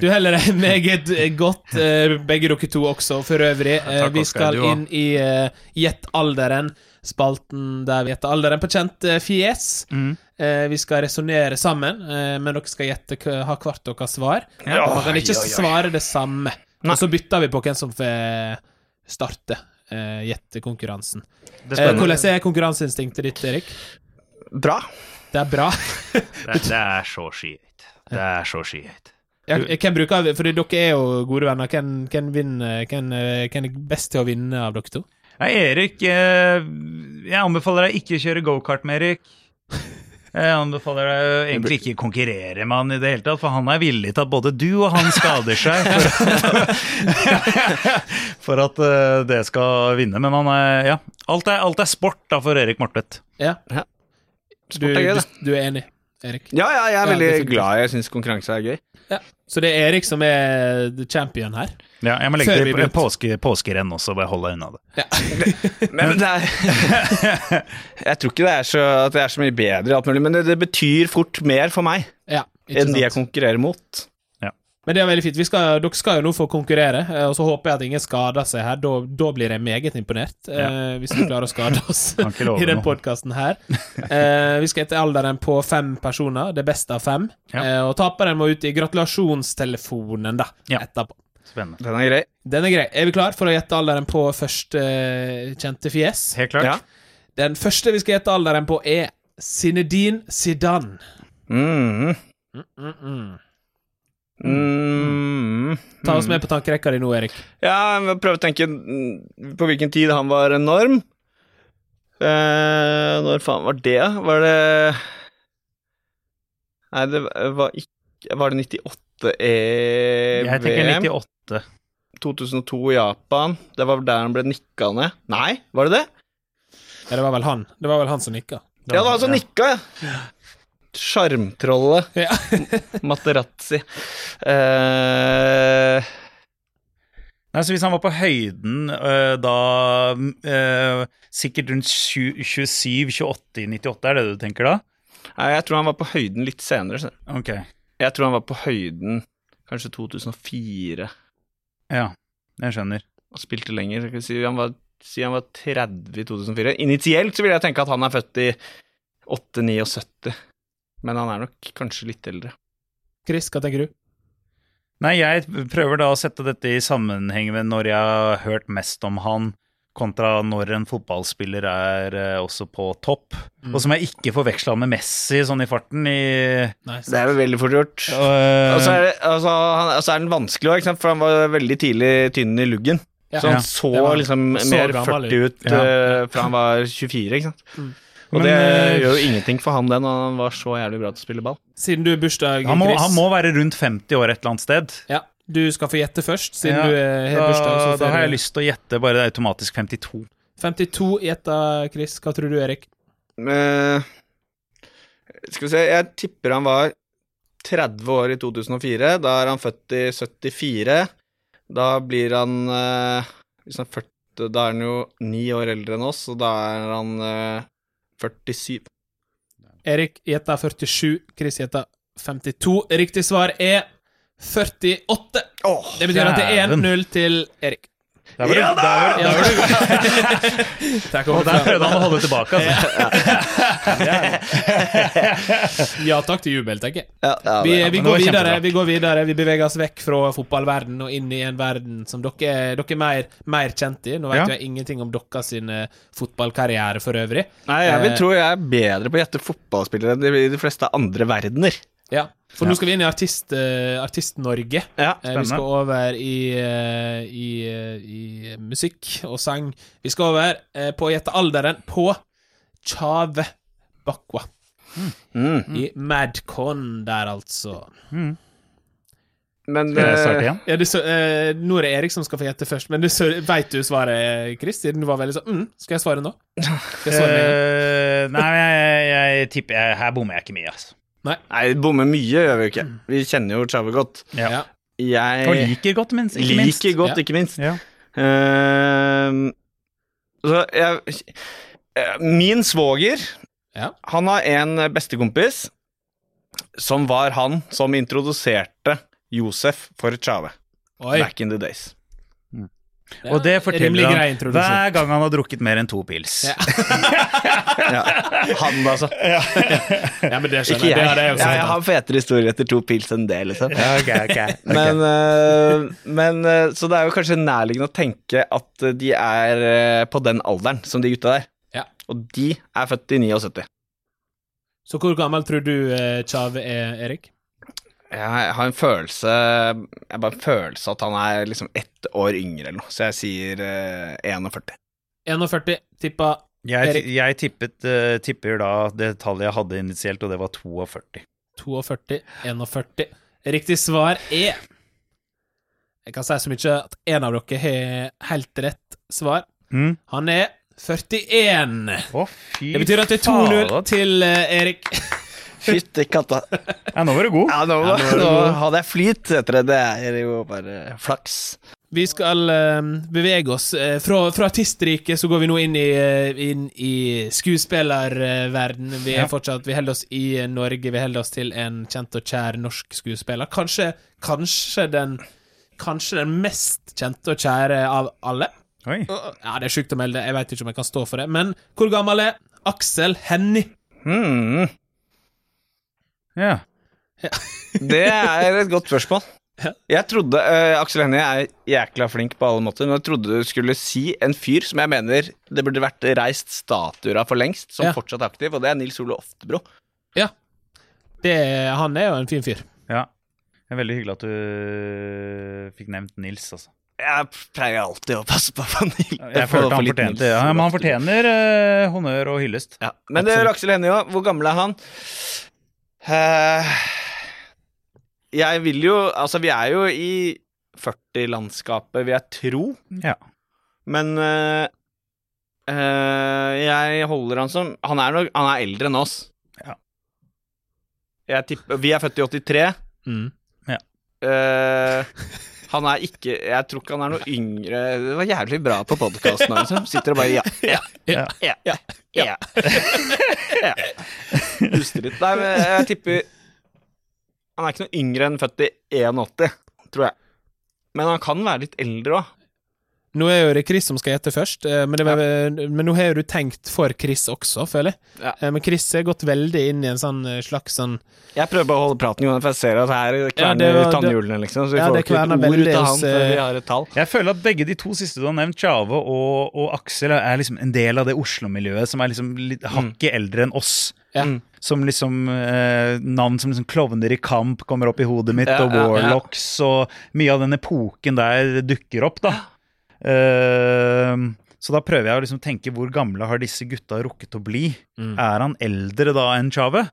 Du heller deg meget godt, eh, begge dere to også, for øvrig. Eh,
takk,
Vi
Oskar,
skal
du også.
inn i eh, Gjett alderen, spalten der vi gjetter alderen på kjent eh, fjes.
Mm.
Eh, Vi skal resonnere sammen, eh, men dere skal gjette hva- ha hvert deres svar.
Ja,
Man kan ikke
oi, oi, oi.
svare det samme.
Nei.
Og så bytter vi på hvem som får eh, starte eh, gjettekonkurransen.
Det
Eh,
er
Hvordan
spennende.
er konkurranseinstinktet ditt, Erik?
Eh, Bra.
Det er bra.
Det, det er så skyhøyt. Det er så skyhøyt.
Ja, hvem bruker Fordi dere er jo gode venner. Hvem, hvem, vinner, hvem, eh, hvem er best til å vinne av dere to?
Nei, Erik, eh, jeg anbefaler deg ikke å kjøre gokart med Erik. Jeg anbefaler deg egentlig ikke å konkurrere med han i det hele tatt, for han er villig til at både du og han skader seg for, for at eh, det skal vinne. Men han er Ja. Alt er, alt er sport da for Erik Mortvedt.
Ja, du,
Sport er gøy,
du,
det.
du er enig, Erik.
Ja, ja, jeg er
Ja,
veldig
definitivt.
glad jeg syns konkurranse er gøy.
Ja. Så det er Erik som er the champion her.
Ja, jeg må
Før
legge
vi
til
begynte.
på- påske, påskerenn også, bare hold deg unna det.
Men det er Jeg tror ikke det er så, at det er så mye bedre, i alt mulig, men det, det betyr fort mer for meg
Ja, ikke
enn de jeg
sant?
konkurrerer mot.
Men det er veldig fint. Vi skal, dere skal jo nå få konkurrere, eh, og så håper jeg at ingen skader seg her. Da, da blir jeg meget imponert, eh, hvis vi klarer å skade oss
Kan ikke love
i den
noe.
podkasten her. Eh, vi skal etter alderen på fem personer, det beste av fem.
Ja.
Eh, og taperen må ut i gratulasjonstelefonen, da,
Ja.
etterpå.
Spennende.
Den er grei.
Den er grei. Er vi klar for å gjette alderen på første eh, kjente fjes?
Helt klart.
Ja.
Den første vi skal gjette alderen på, er Sinedin Sidan.
Mm,
Mm -mm.
mm,
Ta oss med på tankerekka di nå, Erik.
Ja, jeg må prøve å tenke mm, på hvilken tid han var enorm. Eh, når faen var det? Var det Nei, det var ikke Var det E 98 EVM?
Jeg tenker 98.
2002 i Japan. Det var der han ble nikka ned. Nei, var det det?
Ja, det var vel han Det var vel han som nikka.
Ja, det var han som nikka, ja. Sjarmtrollet
Ja.
Materazzi. Eh,
Nei, så Hvis han var på høyden øh, da øh, Sikkert rundt 27-28-98, er det det du tenker da?
nei, jeg tror han var på høyden litt senere. skjønner du.
Ok,
Jeg tror han var på høyden kanskje 2004.
ja. Jeg skjønner.
Og spilte lenger. Skal vi si han var, si han var 30 i 2004. Initielt så vil jeg tenke at han er født i 8-79. Men han er nok kanskje litt eldre.
Chris, hva tenker du?
Nei, jeg prøver da å sette dette i sammenheng med når jeg har hørt mest om han, kontra når en fotballspiller er øh, også på topp. Og som jeg ikke forveksla med Messi sånn i farten i
Nei,
Det er jo veldig fort gjort.
øh,
Eh.
Og så er, det, altså, han, og så er den vanskelig også, ikke sant? for han var veldig tidlig tynn i luggen.
Ja.
Så han
Ja.
så
Det var-
liksom
så
mer
gammel Mm.
40 ut
Ja.
eh, fra han var 24, ikke sant. Og
Men,
det
eh,
gjør jo ingenting for han det, når han var så jævlig bra til å spille ball.
Siden du er bursdag,
øh, han, må,
Chris.
han må være rundt 50 år et eller annet sted.
Ja, Du skal få gjette først, siden
Ja,
du er har
da,
bursdag. så
da
får
har
du-
jeg lyst til å gjette bare det er automatisk 52.
52 gjetta, Chris. Hva tror du, Erik?
skal vi se, jeg tipper han var 30 år i 2004. Da er han født i 74. Da blir han eh, Hvis han er 40, da er han jo ni år eldre enn oss, og da er han eh, 47.
Erik gjetta 47, Chris gjetta 52. Riktig svar er 48. Det betyr at det er
Dæven.
1-0 til Erik.
Der var det,
Ja da!
der var det, der var det,
Der
og
kommer
der
det
prøvde han å holde tilbake. Altså.
fram. Ja takk til jubel, tenker jeg.
Ja, ja,
Vi,
men
vi,
det
går
var
videre,
kjempebra.
vi går videre. Vi beveger oss vekk fra fotballverden og inn i en verden som dere, dere er mer, mer kjent i. Nå vet
Ja.
jeg ingenting om deres sin eh, fotballkarriere for øvrig.
Nei, jeg vil
Eh,
tro jeg er bedre på å gjette fotballspillere enn de, de fleste andre verdener.
Ja. For nå skal vi inn i Artist, eh, Artist-Norge.
Ja,
Eh, vi skal over i, eh, i, eh, i musikk og sang. Vi skal over eh, på å gjette alderen på Tjave Bakwa.
Mm.
I Madcon der, altså.
Men
Skal jeg starte
eh,
igjen?
Ja, du, så, eh, nå er det Erik som skal få gjette først, men du, så, vet du svaret, Chris? Siden du var veldig sånn mm, Skal jeg svare nå? Skal jeg svare med en gang?
Eh, nei, jeg, jeg tipper jeg, Her bommer jeg ikke mye, altså.
Nei, bomme mye gjør vi jo ikke. Vi kjenner jo Chave godt.
Ja.
Ja.
Og
Jeg
liker godt, minst, ikke minst.
liker godt,
Ja.
ikke minst. Ehm,
Ja.
Eh, så jeg eh, Min svoger
Ja.
Han har en bestekompis som var han som introduserte Josef for Tjave
Oi.
back in the days.
er
Og det
en rimelig
forteller
grei
han
introduksjon.
hver gang han har drukket mer enn to pils.
Ja.
Ja. Han, altså.
Ja, men det skjønner
Ikke
jeg.
jeg.
Det hadde jeg
jeg,
også
jeg har fetere historier etter to pils enn det, liksom. Men, eh, men eh, Så det er jo kanskje nærliggende å tenke at eh, de er eh, på den alderen som de gutta der.
Ja.
Og de er født i 79.
Så hvor gammel tror du eh, Tjave er, Erik?
Jeg har en følelse Jeg har bare en følelse at han er liksom ett år yngre eller noe, så jeg sier eh, 41.
41, tippa
Jeg,
Erik?
jeg tippet, eh, tipper da det tallet jeg hadde initielt, og det var 42.
42, 41. Riktig svar er Jeg kan si så mye at en av dere har helt rett svar.
Mm.
Han er 41.
Å, fy
Det betyr at det er 2-0 til eh, Erik.
Fytti katta.
Ja, nå var du god.
Ja, nå,
Ja, nå er du
nå
god.
hadde jeg flyt etter det. Det er jo bare flaks.
Vi skal eh, bevege oss eh, fra, fra artistriket, så går vi nå inn i, eh, inn i skuespillerverden. Vi er
Ja.
fortsatt, vi holder oss i eh, Norge, vi holder oss til en kjent og kjær norsk skuespiller. Kanskje, kanskje, den, kanskje den mest kjente og kjære av alle.
Oi.
Ja, Det er sjukt å melde, jeg veit ikke om jeg kan stå for det. Men hvor gammel er Aksel Hennie?
Hmm.
Ja.
Det er et godt spørsmål. Jeg trodde eh, Aksel Hennie er jækla flink på alle måter, men jeg trodde du skulle si en fyr som jeg mener det burde vært reist statuer av for lengst, som
Ja.
fortsatt er aktiv, og det er Nils Ole Oftebro.
Det, han er jo en fin fyr.
ja. Det er veldig hyggelig at du fikk nevnt Nils, altså.
Jeg pleier alltid å passe på på Nils.
Jeg følte han fortjente det. Ja, men han fortjener eh, honnør og hyllest.
Ja. Men det gjør Aksel Hennie òg. Hvor gammel er han? Eh, jeg vil jo Altså, vi er jo i 40-landskapet, vil jeg tro.
Ja.
Men øh, øh, jeg holder han som Han er, nok, han er eldre enn oss.
Ja.
Jeg tipper, vi er født i 83.
Mm.
øh, han er ikke Jeg tror ikke han er noe yngre Det var jævlig bra på podkasten. Liksom. Sitter og bare ja, ja,
Ja.
ja, ja. ja. ja. Puster litt. Nei, men jeg tipper Han er ikke noe yngre enn født i 81, tror jeg. Men han kan være litt eldre òg.
Nå er jo det Chris som skal gjette først, eh, men, det var, men nå har jo du tenkt for Chris også, føler jeg.
Ja.
Eh, Men Chris har gått veldig inn i en sånn eh, slags sånn
Jeg prøver bare å holde praten, Johan, for jeg ser at her kverner
det var-
tannhjulene, liksom. Så vi
Ja,
får
det
ikke
kverner
et ord
veldig
ut av
hos,
han før vi
eh,
har et tall.
Jeg føler at begge de to siste du har nevnt, Tjave og, og Aksel, er liksom en del av det Oslo-miljøet som er liksom litt hakket eldre enn oss.
ja.
Mm.
Som liksom eh, Navn som liksom Klovner i kamp kommer opp i hodet mitt,
Ja,
og
ja, ja.
Warlocks, og mye av den epoken der dukker opp, da. Eh, så da prøver jeg å liksom tenke hvor gamle har disse gutta rukket å bli?
Mm.
Er han eldre da enn Tjave?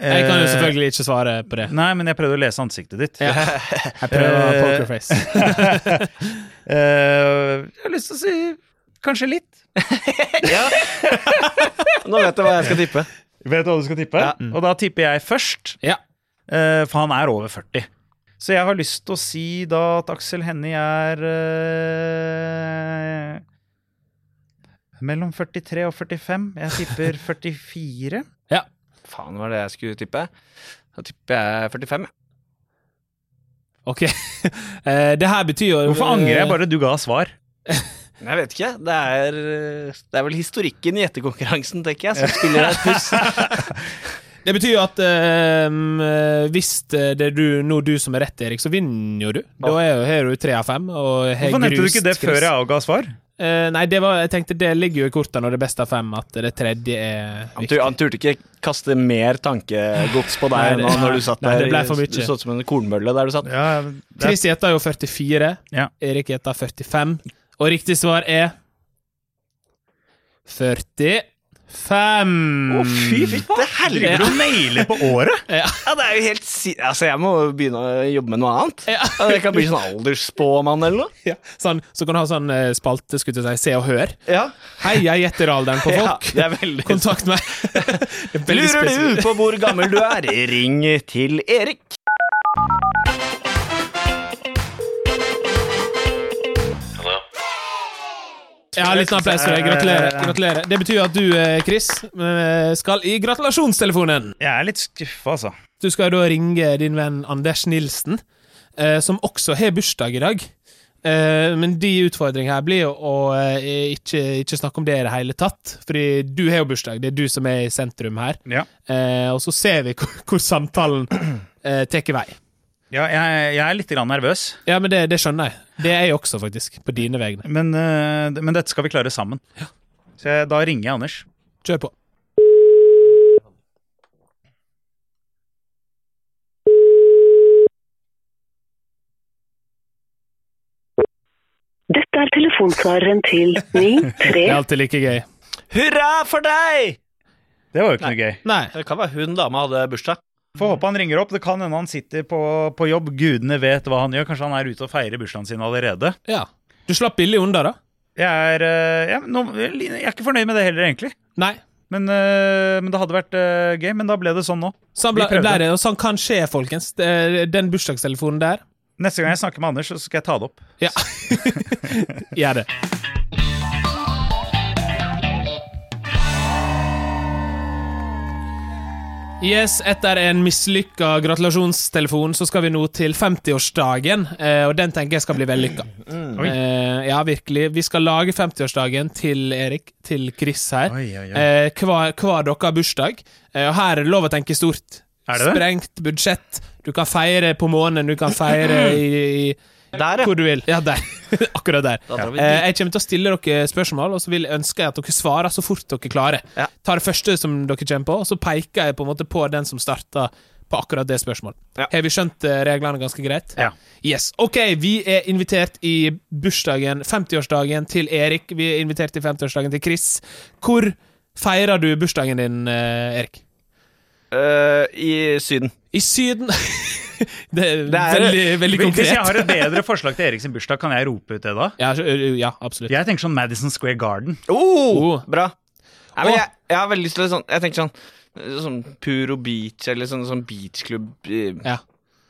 Jeg kan jo
Eh,
selvfølgelig ikke svare på det.
Nei, men jeg prøvde å lese ansiktet ditt.
Ja. Jeg prøver
Eh,
pokerface.
Eh, jeg har lyst til å si kanskje litt.
Nå vet jeg hva jeg skal tippe.
Vet du hva du skal tippe?
Ja.
Og da tipper jeg først,
Ja.
eh, for han er over 40. Så jeg har lyst til å si da at Aksel Hennie er eh, mellom 43 og 45. Jeg tipper 44.
ja.
Faen, var det jeg skulle tippe? Da tipper jeg 45. jeg.
Ok. Eh, det her betyr jo
Hvorfor angrer jeg bare du ga svar?
Men jeg vet ikke. Det er, det er vel historikken i gjettekonkurransen, tenker jeg, som spiller et puss.
Det betyr jo at eh, hvis det er du, nå du som er rett, Erik, så vinner jo du. Da er jo, har du tre av fem. Og har
Hvorfor nevnte du
grust
ikke det
Chris.
før jeg avga svar?
Eh, nei, det var, jeg tenkte det ligger jo i kortene når det er best av fem, at det tredje er
Han, tur, han turte ikke kaste mer tankegods på deg
Nei,
nå
det-
når du satt
nei,
der.
det ble for mye.
Du så ut som en kornmølle der du satt.
Ja, det,
Chris gjetter jo 44.
Ja.
Erik gjetter 45. Og riktig svar er 45.
å,
Mm.
fy fitte! Driver du og nailer på året?
Ja, det er jo helt si... Altså, jeg må begynne å jobbe med noe annet.
Ja.
Ja, Jeg kan bli sånn aldersspåmann eller noe.
Ja, sånn, så kan du ha sånn eh, spalte, skulle jeg til å si, se og hør.
Ja,
Hei, jeg gjetter alderen på
ja
folk.
det er veldig
Kontakt meg. Det er veldig
Lurer
spesifikt.
du på hvor gammel du er? Ring til Erik.
Ja, en liten applaus for deg. Gratulerer. gratulerer. Det betyr at du, eh, Chris, eh, skal i gratulasjonstelefonen.
Jeg er litt skuffa, altså.
Du skal da ringe din venn Anders Nilsen, eh, som også har bursdag i dag. Eh, men de utfordringene her blir jo å eh, ikke, ikke snakke om det i det hele tatt. Fordi du har jo bursdag, det er du som er i sentrum her.
Ja,
Eh, og så ser vi hvor, hvor samtalen eh, tar vei.
ja jeg, jeg er litt grann nervøs,
Ja, men det, det skjønner jeg. Det er jeg også, faktisk. På dine vegne.
men, eh, men dette skal vi klare sammen. Så jeg, da ringer jeg Anders.
Kjør på.
Dette er telefonsvareren til
Det
93.
er alltid like gøy.
Hurra for deg!
Det var jo ikke noe gøy.
Nei.
Det kan være hun dama hadde bursdag.
Får håpe han ringer opp. Det kan hende han sitter på, på jobb. Gudene vet hva han gjør. Kanskje han er ute og feirer bursdagen sin allerede.
Ja. Du slapp billig unna, da?
Jeg er, eh, ja, nå, jeg er ikke fornøyd med det heller, egentlig.
Nei.
Men, eh, men det hadde vært eh, gøy. Men da ble det sånn nå.
Sånn,
Vi
ble,
prøvde.
ble det, og sånn kan skje, folkens. Det- Den bursdagstelefonen der.
Neste gang jeg snakker med Anders, så skal jeg ta det opp.
Ja. Gjør det. Yes, Etter en mislykka gratulasjonstelefon så skal vi nå til 50-årsdagen. eh, Og den tenker jeg skal bli vellykka.
Oi.
Eh, ja, virkelig. Vi skal lage 50-årsdagen til Erik, til Chris her.
Oi, oi, oi.
Eh, hver, hver dere har bursdag. Eh, og her er det lov å tenke stort.
Er det det?
Sprengt budsjett. Du kan feire på månen, du kan feire i, i
Der,
hvor du vil. Ja, der. Akkurat der.
Da drar vi dit.
Eh, jeg kommer til å stille dere spørsmål, og så vil ønsker jeg at dere svarer så fort dere klarer.
Ja.
Ta det første som dere kommer på, og så peker jeg på en måte på den som starta på akkurat det spørsmålet.
Ja.
Har vi skjønt eh, reglene ganske greit?
Ja.
Yes. Ok, vi er invitert i bursdagen, 50-årsdagen til Erik. Vi er invitert i 50-årsdagen til Chris. Hvor feirer du bursdagen din, eh, Erik?
Eh, I Syden.
I Syden. det er,
er-
veldig, veldig konkret.
Hvis jeg har et bedre forslag til Eriks bursdag, kan jeg rope ut det da?
ja, ø- ø- ja, absolutt.
Jeg tenker sånn Madison Square Garden.
Oh,
Oh.
Bra. Nei, men
Åh.
jeg, jeg har veldig lyst til sånn Jeg tenker sånn, sånn Puro Beach eller sånn, sånn beachklubb eh,
Ja.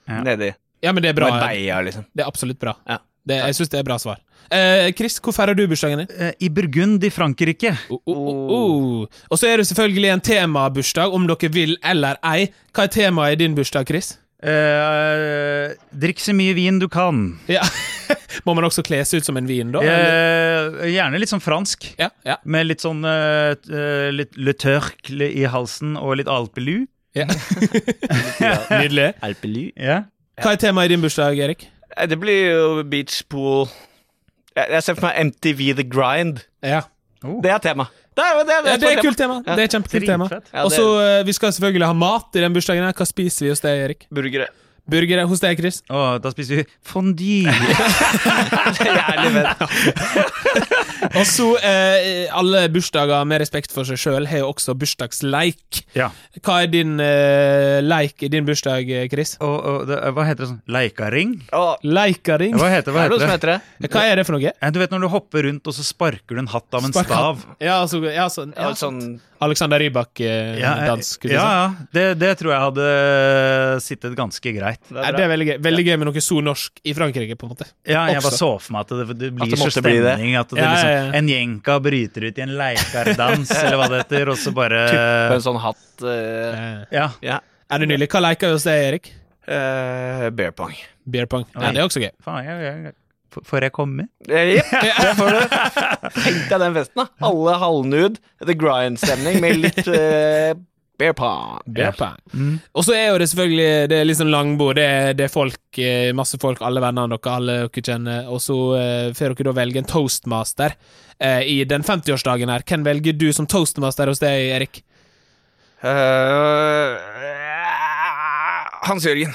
Ja.
nedi
ja, men det er bra.
Marbella, liksom.
Det er absolutt bra.
Ja.
Det, jeg syns det er bra svar. Eh, Chris, hvor feirer du bursdagen din?
Eh, I Burgund i Frankrike.
Oh, oh, oh, oh. Og så er det selvfølgelig en temabursdag, om dere vil eller ei. Hva er temaet i din bursdag, Chris?
Eh, drikk så mye vin du kan.
Ja. Må man også kle seg ut som en vin, da? eller?
Eh, gjerne litt sånn fransk.
Ja, ja,
Med litt sånn eh, t- eh, litt le tørkle i halsen og litt alpelu.
ja. Nydelig.
Ja.
Hva er temaet i din bursdag, Erik?
Eh, Det blir jo beach pool jeg, jeg ser for meg MTV The Grind.
Ja.
Det er tema. Det er, det er,
Ja, det er et kult tema.
Ja.
Det er et kjempekult tema.
Dritfett.
Ja,
Og
det-
så eh, Vi skal selvfølgelig ha mat i den bursdagen. her Hva spiser vi hos deg, Erik?
Burgere.
Burgere hos deg, Chris?
Og da spiser vi fondue.
Jævlig fett.
Og så eh, Alle bursdager med respekt for seg sjøl har jo også bursdagsleik.
ja.
Hva er din eh, leik i din bursdag, eh, Chris?
Og, og det, hva heter det sånn? Leikaring?
Åh,
Leikaring?
Hva heter,
er
hva
det noe
heter
som
det?
heter det?
Hva er det for noe?
Eh, Du vet når du hopper rundt, og så sparker du en hatt av en
Spark hatt.
stav.
Ja, altså, ja, så,
Ja,
ja.
sånn
Alexander Rybak-dansk.
Ja, eh,
liksom.
ja, ja. Det, det tror jeg hadde sittet ganske greit.
det
det er veldig gøy Veldig gøy med noe så norsk i Frankrike, på en måte.
Ja, jeg bare
Også.
så for meg at det, det blir
At det
så
måtte bli det.
stemning at det
Ja,
liksom,
ja, ja.
en jenka bryter ut i en leikardans, eller hva det heter, og så bare
På en sånn hatt eh,
Eh,
Ja.
Ja.
Er det nylig? Hva leker vi hos deg, Erik?
Eh, beer pong.
Beer pong. Ja, det er også gøy.
Faen, jeg, jeg, f- får jeg komme?
Eh, Jepp, der får du. Tenk deg den festen, da. Alle halvnude, The Grind-stemning med litt eh, beer pong.
Beer pong. Og så er jo det selvfølgelig Det er liksom langbord. Det er, det er folk, eh, masse folk, alle vennene dere, alle dere kjenner. Og så eh, får dere da velge en toastmaster eh, i den 50-årsdagen her. Hvem velger du som toastmaster hos deg, Erik?
Eh, Hans Jørgen.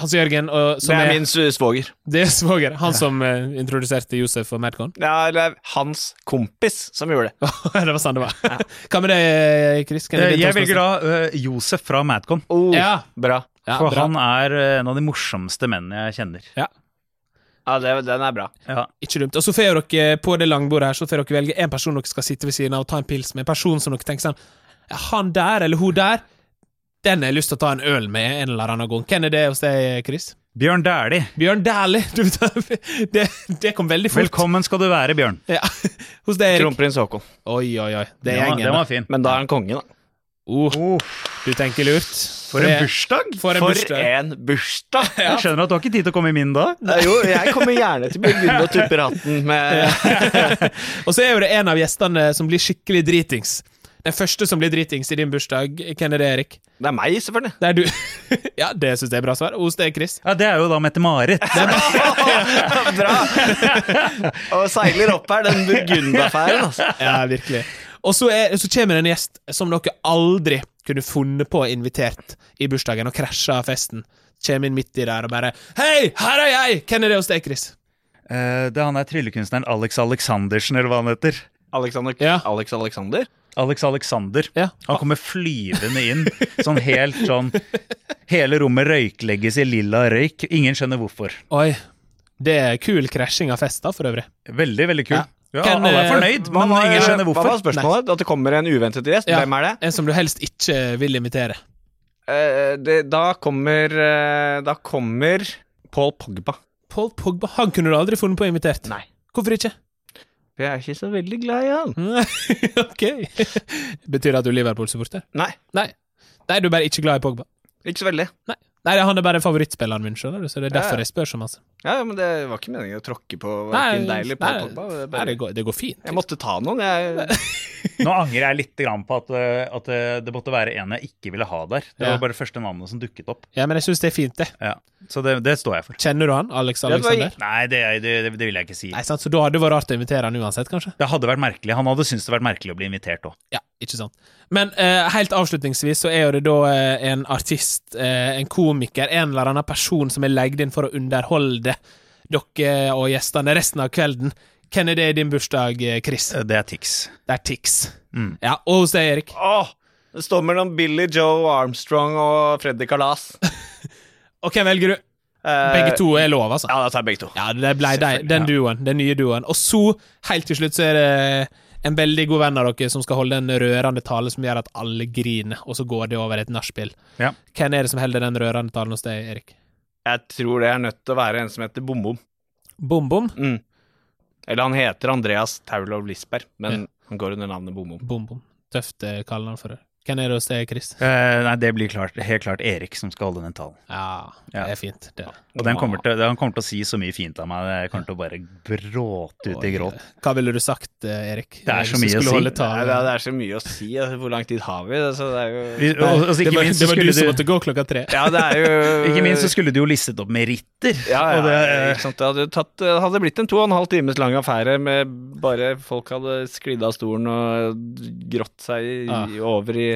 Hans Jørgen, og,
Det
som
er min s- svoger.
Det er svoger. Han som eh, introduserte Josef for Madcon.
Ja, det er hans kompis som gjorde det.
det var sånn det var. Hva med deg, Chris? Hvem er
Eh,
din
Jeg
toastmaster?
velger da eh, Josef fra Madcon,
Oh,
Ja,
Bra.
ja,
for
bra.
han er eh, en av de morsomste mennene jeg kjenner.
Ja, det, den er bra.
Ja.
Ikke dumt. Og så får dere eh, på det langbordet her Så får dere velge en person dere skal sitte ved siden av og ta en pils med. En person som dere tenker sånn "Ja, Han der eller hun der, den har jeg lyst til å ta en øl med en eller annen gang. Hvem er det hos deg, eh, Chris?
Bjørn Dæhlie,
Bjørn Dæhlie! du vet, Det, det kom veldig fort.
velkommen skal du være, Bjørn.
Ja. Hos deg, Erik.
Kronprins Haakon.
Oi, oi, oi. Det er
Den var, den
gjengen.
var fin.
Men da er han konge, da.
Oh, du tenker lurt.
For en
Det-
bursdag!
For en bursdag.
en bursdag!
Jeg skjønner at du har ikke tid til å komme i min da.
Nei, jo, jeg kommer gjerne til å begynne å tuppe ratten med
Og så er jo det en av gjestene som blir skikkelig dritings. Den første som blir dritings i din bursdag, hvem er det, Erik?
Det er meg, selvfølgelig.
Det er du. ja, det syns jeg er bra svar. Hos deg, Chris.
Ja, Det er jo da Mette-Marit.
Bra! Og seiler opp her, den burgundaffæren, altså.
Ja, virkelig. Og så, er, så kommer det en gjest som dere aldri kunne funnet på å invitert i bursdagen, og krasja festen. Kjem inn midt i der og bare Hei, her er jeg! Hvem er det hos deg, Chris?
Eh, det er han er tryllekunstneren Alex Alexandersen, eller hva han heter.
Alexander,
Ja.
Alex Alexander?
Alex Alexander.
Ja.
Han kommer flyvende inn, sånn helt sånn Hele rommet røyklegges i lilla røyk. Ingen skjønner hvorfor.
Oi. Det er kul krasjing av fest, da, for øvrig.
Veldig, veldig kul.
Ja.
Ja.
Kan,
alle er
eh,
fornøyd,
Hva
men
var-
ingen skjønner hvorfor.
Hva var spørsmålet? At det kommer en uventet gjest?
Ja.
Hvem er det?
En som du helst ikke vil invitere.
Eh, det? Da kommer eh, Da kommer Paul Pogba.
Paul Pogba han kunne du aldri funnet på å invitert.
Nei.
Hvorfor ikke?
For jeg er ikke så veldig glad i han.
ok. Betyr det at du er Liverpool-supporter?
Nei,
Nei. Nei, du er bare ikke glad i Pogba.
ikke så veldig.
Nei, Nei han er bare favorittspilleren min, skjønner du, så det er
Ja,
derfor
ja.
jeg spør så masse.
Ja, ja, men det var ikke meningen å tråkke på hverken deg eller Paul Pogba. Det er
nei, det,
bare,
går, det går fint.
jeg måtte ta noen, jeg.
Nå angrer jeg litt grann på at, eh, at eh, det måtte være en jeg ikke ville ha der. Det
Ja.
var bare det første navnet som dukket opp.
Ja, men jeg syns det er fint, det.
Ja. Så det, det står jeg for.
Kjenner du han, Alex
det var-
Alexander?
Nei, det, det, det vil jeg ikke si.
Nei, sant, Så da hadde det vært rart å invitere han uansett, kanskje?
Det hadde vært merkelig. Han hadde syntes det vært merkelig å bli invitert òg.
Ja, ikke sant. Men eh, helt avslutningsvis så er jo det da eh, en artist, eh, en komiker, en eller annen person som er leid inn for å underholde dere og gjestene resten av kvelden. Hvem er det i din bursdag, eh, Chris?
Det er Tix.
Det er Tix.
Mm.
Ja, og hos deg, Erik.
Åh, det står mellom Billy Joe Armstrong og Freddy Kalas.
Og hvem velger du?
Eh,
Begge to er lov, altså.
Ja, da tar jeg begge to.
Ja, det ble de,
Selvfølgelig,
den
ja.
duoen, den nye duoen. Og så, helt til slutt, så er det en veldig god venn av dere som skal holde en rørende tale som gjør at alle griner, og så går det over i et nachspiel.
Ja.
Hvem er det som holder den rørende talen hos deg, Erik?
Jeg tror det er nødt til å være en som heter Bom-Bom.
Bom-bom?
Mm. Eller han heter Andreas Taulov Lisberg, men han går under navnet Bom-Bom.
Bom-bom. Tøft eh, kaller han for det. Hvem er det hos deg, Chris?
Eh, nei, det blir klart, helt klart Erik som skal holde den talen.
Ja, det
Ja.
er fint. Det. er det.
Og den kommer til, han kommer til å si så mye fint av meg. Jeg kommer til å bare bråte ut i
Oi,
gråt.
Hva ville du sagt, eh, Erik?
Det er så mye å si.
Nei, det, er- det er så mye å si. altså, Hvor lang tid har vi? Så det er jo...
Vi- og- og så
det
Ikke
var,
minst
det
så
var du som
skulle du
måtte gå klokka tre.
Ja, det er jo
ikke minst så skulle du jo listet opp meritter.
ja, ja,
og det, eh,
ikke sant? Det hadde, jo tatt, det hadde blitt en to og en halv times lang affære med bare folk hadde sklidd av stolen og grått seg i,
Ah.
i- over i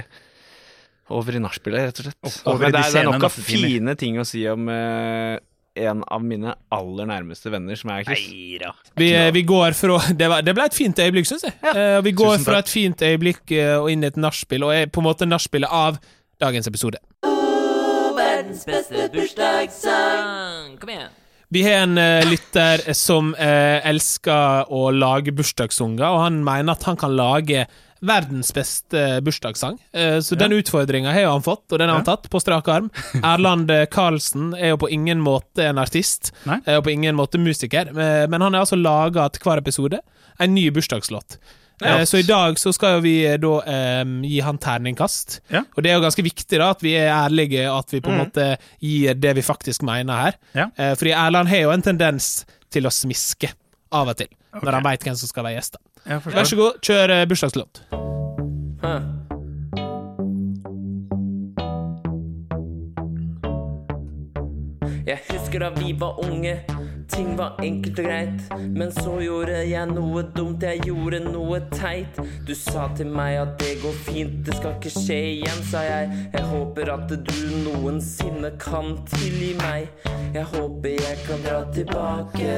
over i nachspielet, rett og slett. Altså,
Over i
Men det,
de
er, det er
sene
nok av
nattetimer.
fine ting å si om eh, en av mine aller nærmeste venner, som er Chris.
Eira.
Vi, vi går fra Det, var, det ble et fint øyeblikk, syns jeg. Eh, vi går
Tusen
fra
takk.
et fint øyeblikk eh, og inn i et nachspiel, og er på en måte nachspielet av dagens episode.
verdens beste bursdagssang. Kom igjen.
Vi har en eh, lytter som eh, elsker å lage bursdagssanger, og han mener at han kan lage verdens beste bursdagssang. Eh, så den utfordringa har jo han fått, og den har han tatt på strak arm. Erland eh, Karlsen er jo på ingen måte en artist,
Nei.
eh, og på ingen måte musiker, eh, men han har altså laga til hver episode en ny bursdagslåt. Eh, Så i dag så skal jo vi eh, da eh, gi han terningkast,
Ja. Mm.
og det er jo ganske viktig da at vi er ærlige, og at vi på en måte gir det vi faktisk mener her.
Ja.
Eh, Fordi Erland har jo en tendens til å smiske av og til, når han veit hvem som skal være gjest. da.
Jeg forstår.
Vær så god, kjør eh, bursdagslåt.
Jeg husker da vi var unge, ting var enkelt og greit. Men så gjorde jeg noe dumt, jeg gjorde noe teit. Du sa til meg at det går fint, det skal ikke skje igjen, sa jeg. Jeg håper at du noensinne kan tilgi meg. Jeg håper jeg kan dra tilbake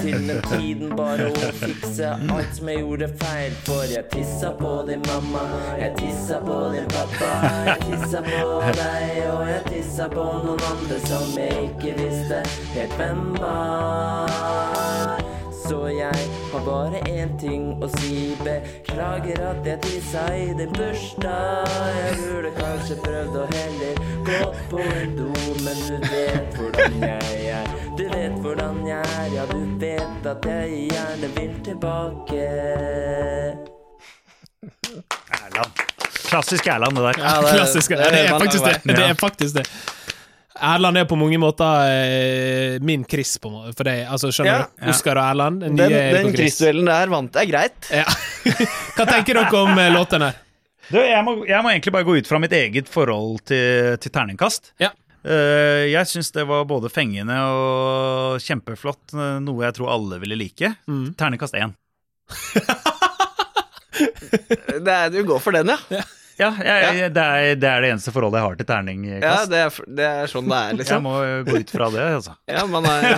til den tiden, bare å fikse alt som jeg gjorde feil. For jeg tissa på din mamma, jeg tissa på din pappa, jeg tissa på deg, og jeg tissa på noen andre som jeg ikke visste helt hvem var. Så jeg har bare én ting å si. Beklager at jeg tissa i din bursdag. Jeg burde kanskje prøvd å heller gå på en do, men du vet hvordan jeg er. Du vet hvordan jeg er, ja, du vet at jeg gjerne vil tilbake.
Erland. Klassisk Erland, det der.
Klassisk. Ja, det er faktisk det. Det
Ja.
er faktisk det. Erland er på mange måter eh, min Chris, på en måte. For deg. Altså, skjønner
Ja.
du? Oskar og Erland. Den, nye
Den,
Erik
den
og Chris.
Chris-duellen der vant jeg greit.
Ja. Hva tenker dere om eh, låten her?
Du, jeg, må, jeg må egentlig bare gå ut fra mitt eget forhold til, til terningkast.
Ja.
Eh, jeg syns det var både fengende og kjempeflott, eh, noe jeg tror alle ville like.
Mm.
Terningkast én.
Det er, du går for den, ja.
Ja, jeg, jeg- Det, er, det er det eneste forholdet jeg har til
ja
terningkast.
det, er, det er sånn det er,
jeg
liksom.
må eh, gå ut fra det, altså.
Ja, man er,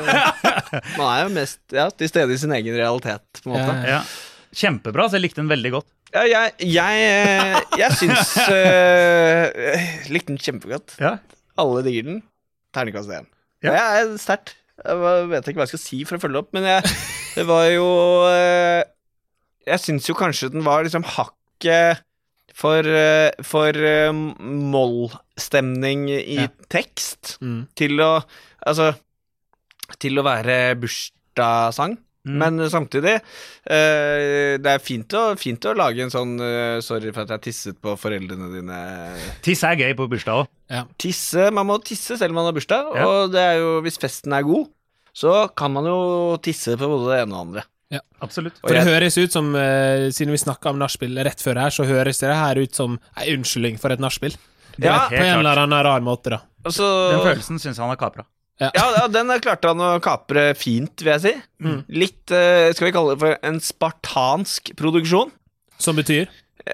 man er jo mest ja, til stede i sin egen realitet, på en måte.
Ja. Kjempebra, så jeg likte den veldig godt.
Ja, jeg, jeg, eh, jeg syns eh, jeg Likte den kjempegodt.
Ja.
Alle digger den. Terningkast én.
Ja.
Ja. Jeg er sterkt. Jeg var- vet ikke hva jeg skal si for å følge opp, men jeg, det var jo eh, Jeg syns jo kanskje den var liksom hakket for, eh, for eh, moll-stemning i
Ja.
tekst
Mm.
til å Altså til å være bursdagssang.
Mm.
Men samtidig eh, Det er fint å, fint å lage en sånn eh, Sorry for at jeg tisset på foreldrene dine.
Tiss er gøy på bursdag òg.
Tisse, Man må tisse selv om man har bursdag,
Ja.
og det er jo, hvis festen er god, så kan man jo tisse på både det ene og det andre.
Absolutt.
Og
For det
jeg-
høres ut som, eh, siden vi snakka om nachspiel rett før her, så høres det her ut som ei unnskyldning for et nachspiel.
Det
Ja,
er
På en
helt klart.
eller annen rar måte, da.
Og så,
Den følelsen syns han har kapra.
ja, ja, den klarte han å kapre fint, vil jeg si.
Mm.
Litt, eh, skal vi kalle det for en spartansk produksjon.
Som betyr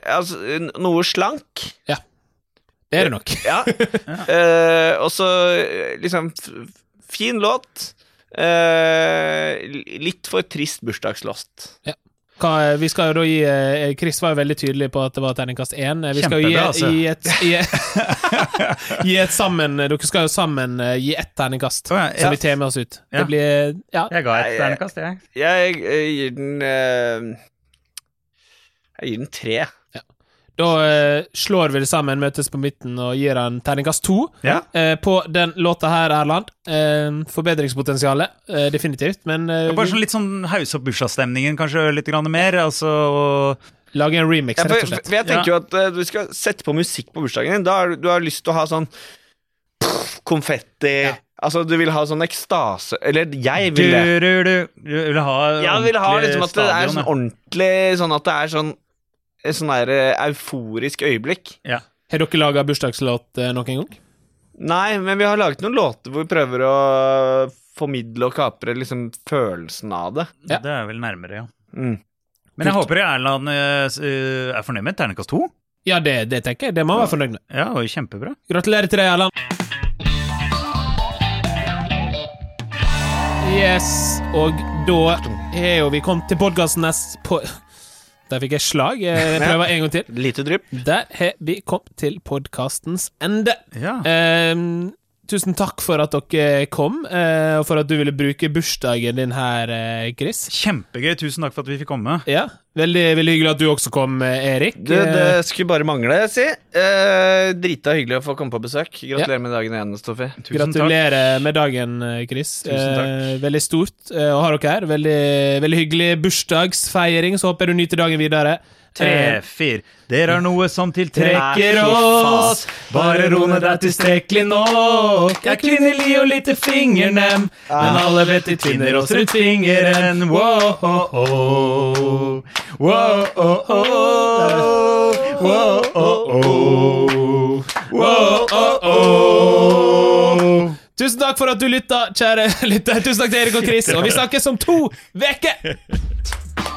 Altså, n- noe slank.
Det er det nok.
Ja. Eh, og så eh, liksom f- Fin låt. Eh, li- litt for trist bursdagslåt.
Hva, vi skal jo da gi eh, Chris var jo veldig tydelig på at det var terningkast én. Eh, Vi skal jo gi,
Kjempebra, altså.
gi et gi, gi et sammen Dere skal jo sammen eh, gi ett terningkast
Å, ja, ja.
som vi tar med oss ut.
Ja.
Det blir Ja.
Jeg ga
Nei,
et
jeg-
terningkast, jeg.
Jeg, eh, gir den eh, Jeg gir den tre.
Da eh, slår vi det sammen, møtes på midten og gir han terningkast to.
Ja.
Eh, på den låta her, Erland. Eh, forbedringspotensialet, eh, definitivt, men eh,
Bare sånn litt sånn hause opp bursdagsstemningen kanskje litt grann mer. Altså, og
vi lager en remix,
Ja, for,
rett og slett.
for jeg tenker jo at eh, du skal sette på musikk på bursdagen din. Da har, du har lyst til å ha sånn pff, konfetti Altså, du vil ha sånn ekstase Eller jeg
du,
vil det.
du, du, du vil ha
Jeg vil ha
ordentlig
liksom at det er
stadion,
sånn
ja.
ordentlig Sånn at det er sånn et sånn der eh, euforisk øyeblikk.
Ja.
Har dere laga bursdagslåt eh, noen gang?
Nei, men vi har laget noen låter hvor vi prøver å formidle og kapre liksom følelsen av det.
Ja.
Det er vel nærmere, ja.
Mm.
Men jeg håper Erland eh, s- eh, er fornøyd med terningkast to.
Ja, det, det tenker jeg. Det må han være fornøyd med.
Ja, det var jo kjempebra.
Gratulerer til deg, Erland. Yes, og da er jo vi kommet til podkasten nest på Der fikk jeg slag. Jeg prøver en gang til.
Lite drypp.
Der har vi kommet til podkastens ende.
Ja.
Ehm, tusen takk for at dere kom, eh, og for at du ville bruke bursdagen din her, eh, Chris.
Kjempegøy. Tusen takk for at vi fikk komme.
Ja, Veldig, veldig hyggelig at du også kom, eh, Erik.
Du, det skulle bare mangle, jeg si. Eh, drita hyggelig å få komme på besøk. Gratulerer med dagen igjen, Stoffi.
Tusen takk.
Gratulerer med dagen, eh, Chris.
Tusen takk.
Eh, veldig stort eh, å ha dere her. Veldig, veldig hyggelig bursdagsfeiring. Så håper jeg du nyter dagen videre.
Tre,
Eh,
fire. Dere er noe som til
trekker
trekker
oss.
oss.
Bare ro ned, det er tilstrekkelig nok. Jeg er kvinnelig og lite fingernem, men
Ah.
alle vet de tvinner oss rundt fingeren. Wow, oh, oh. wow, oh, oh. wow, oh, oh. wow, oh, oh. Tusen takk for at du lytta, kjære lytter. Tusen takk til Erik og Chris, og vi snakkes om to uker!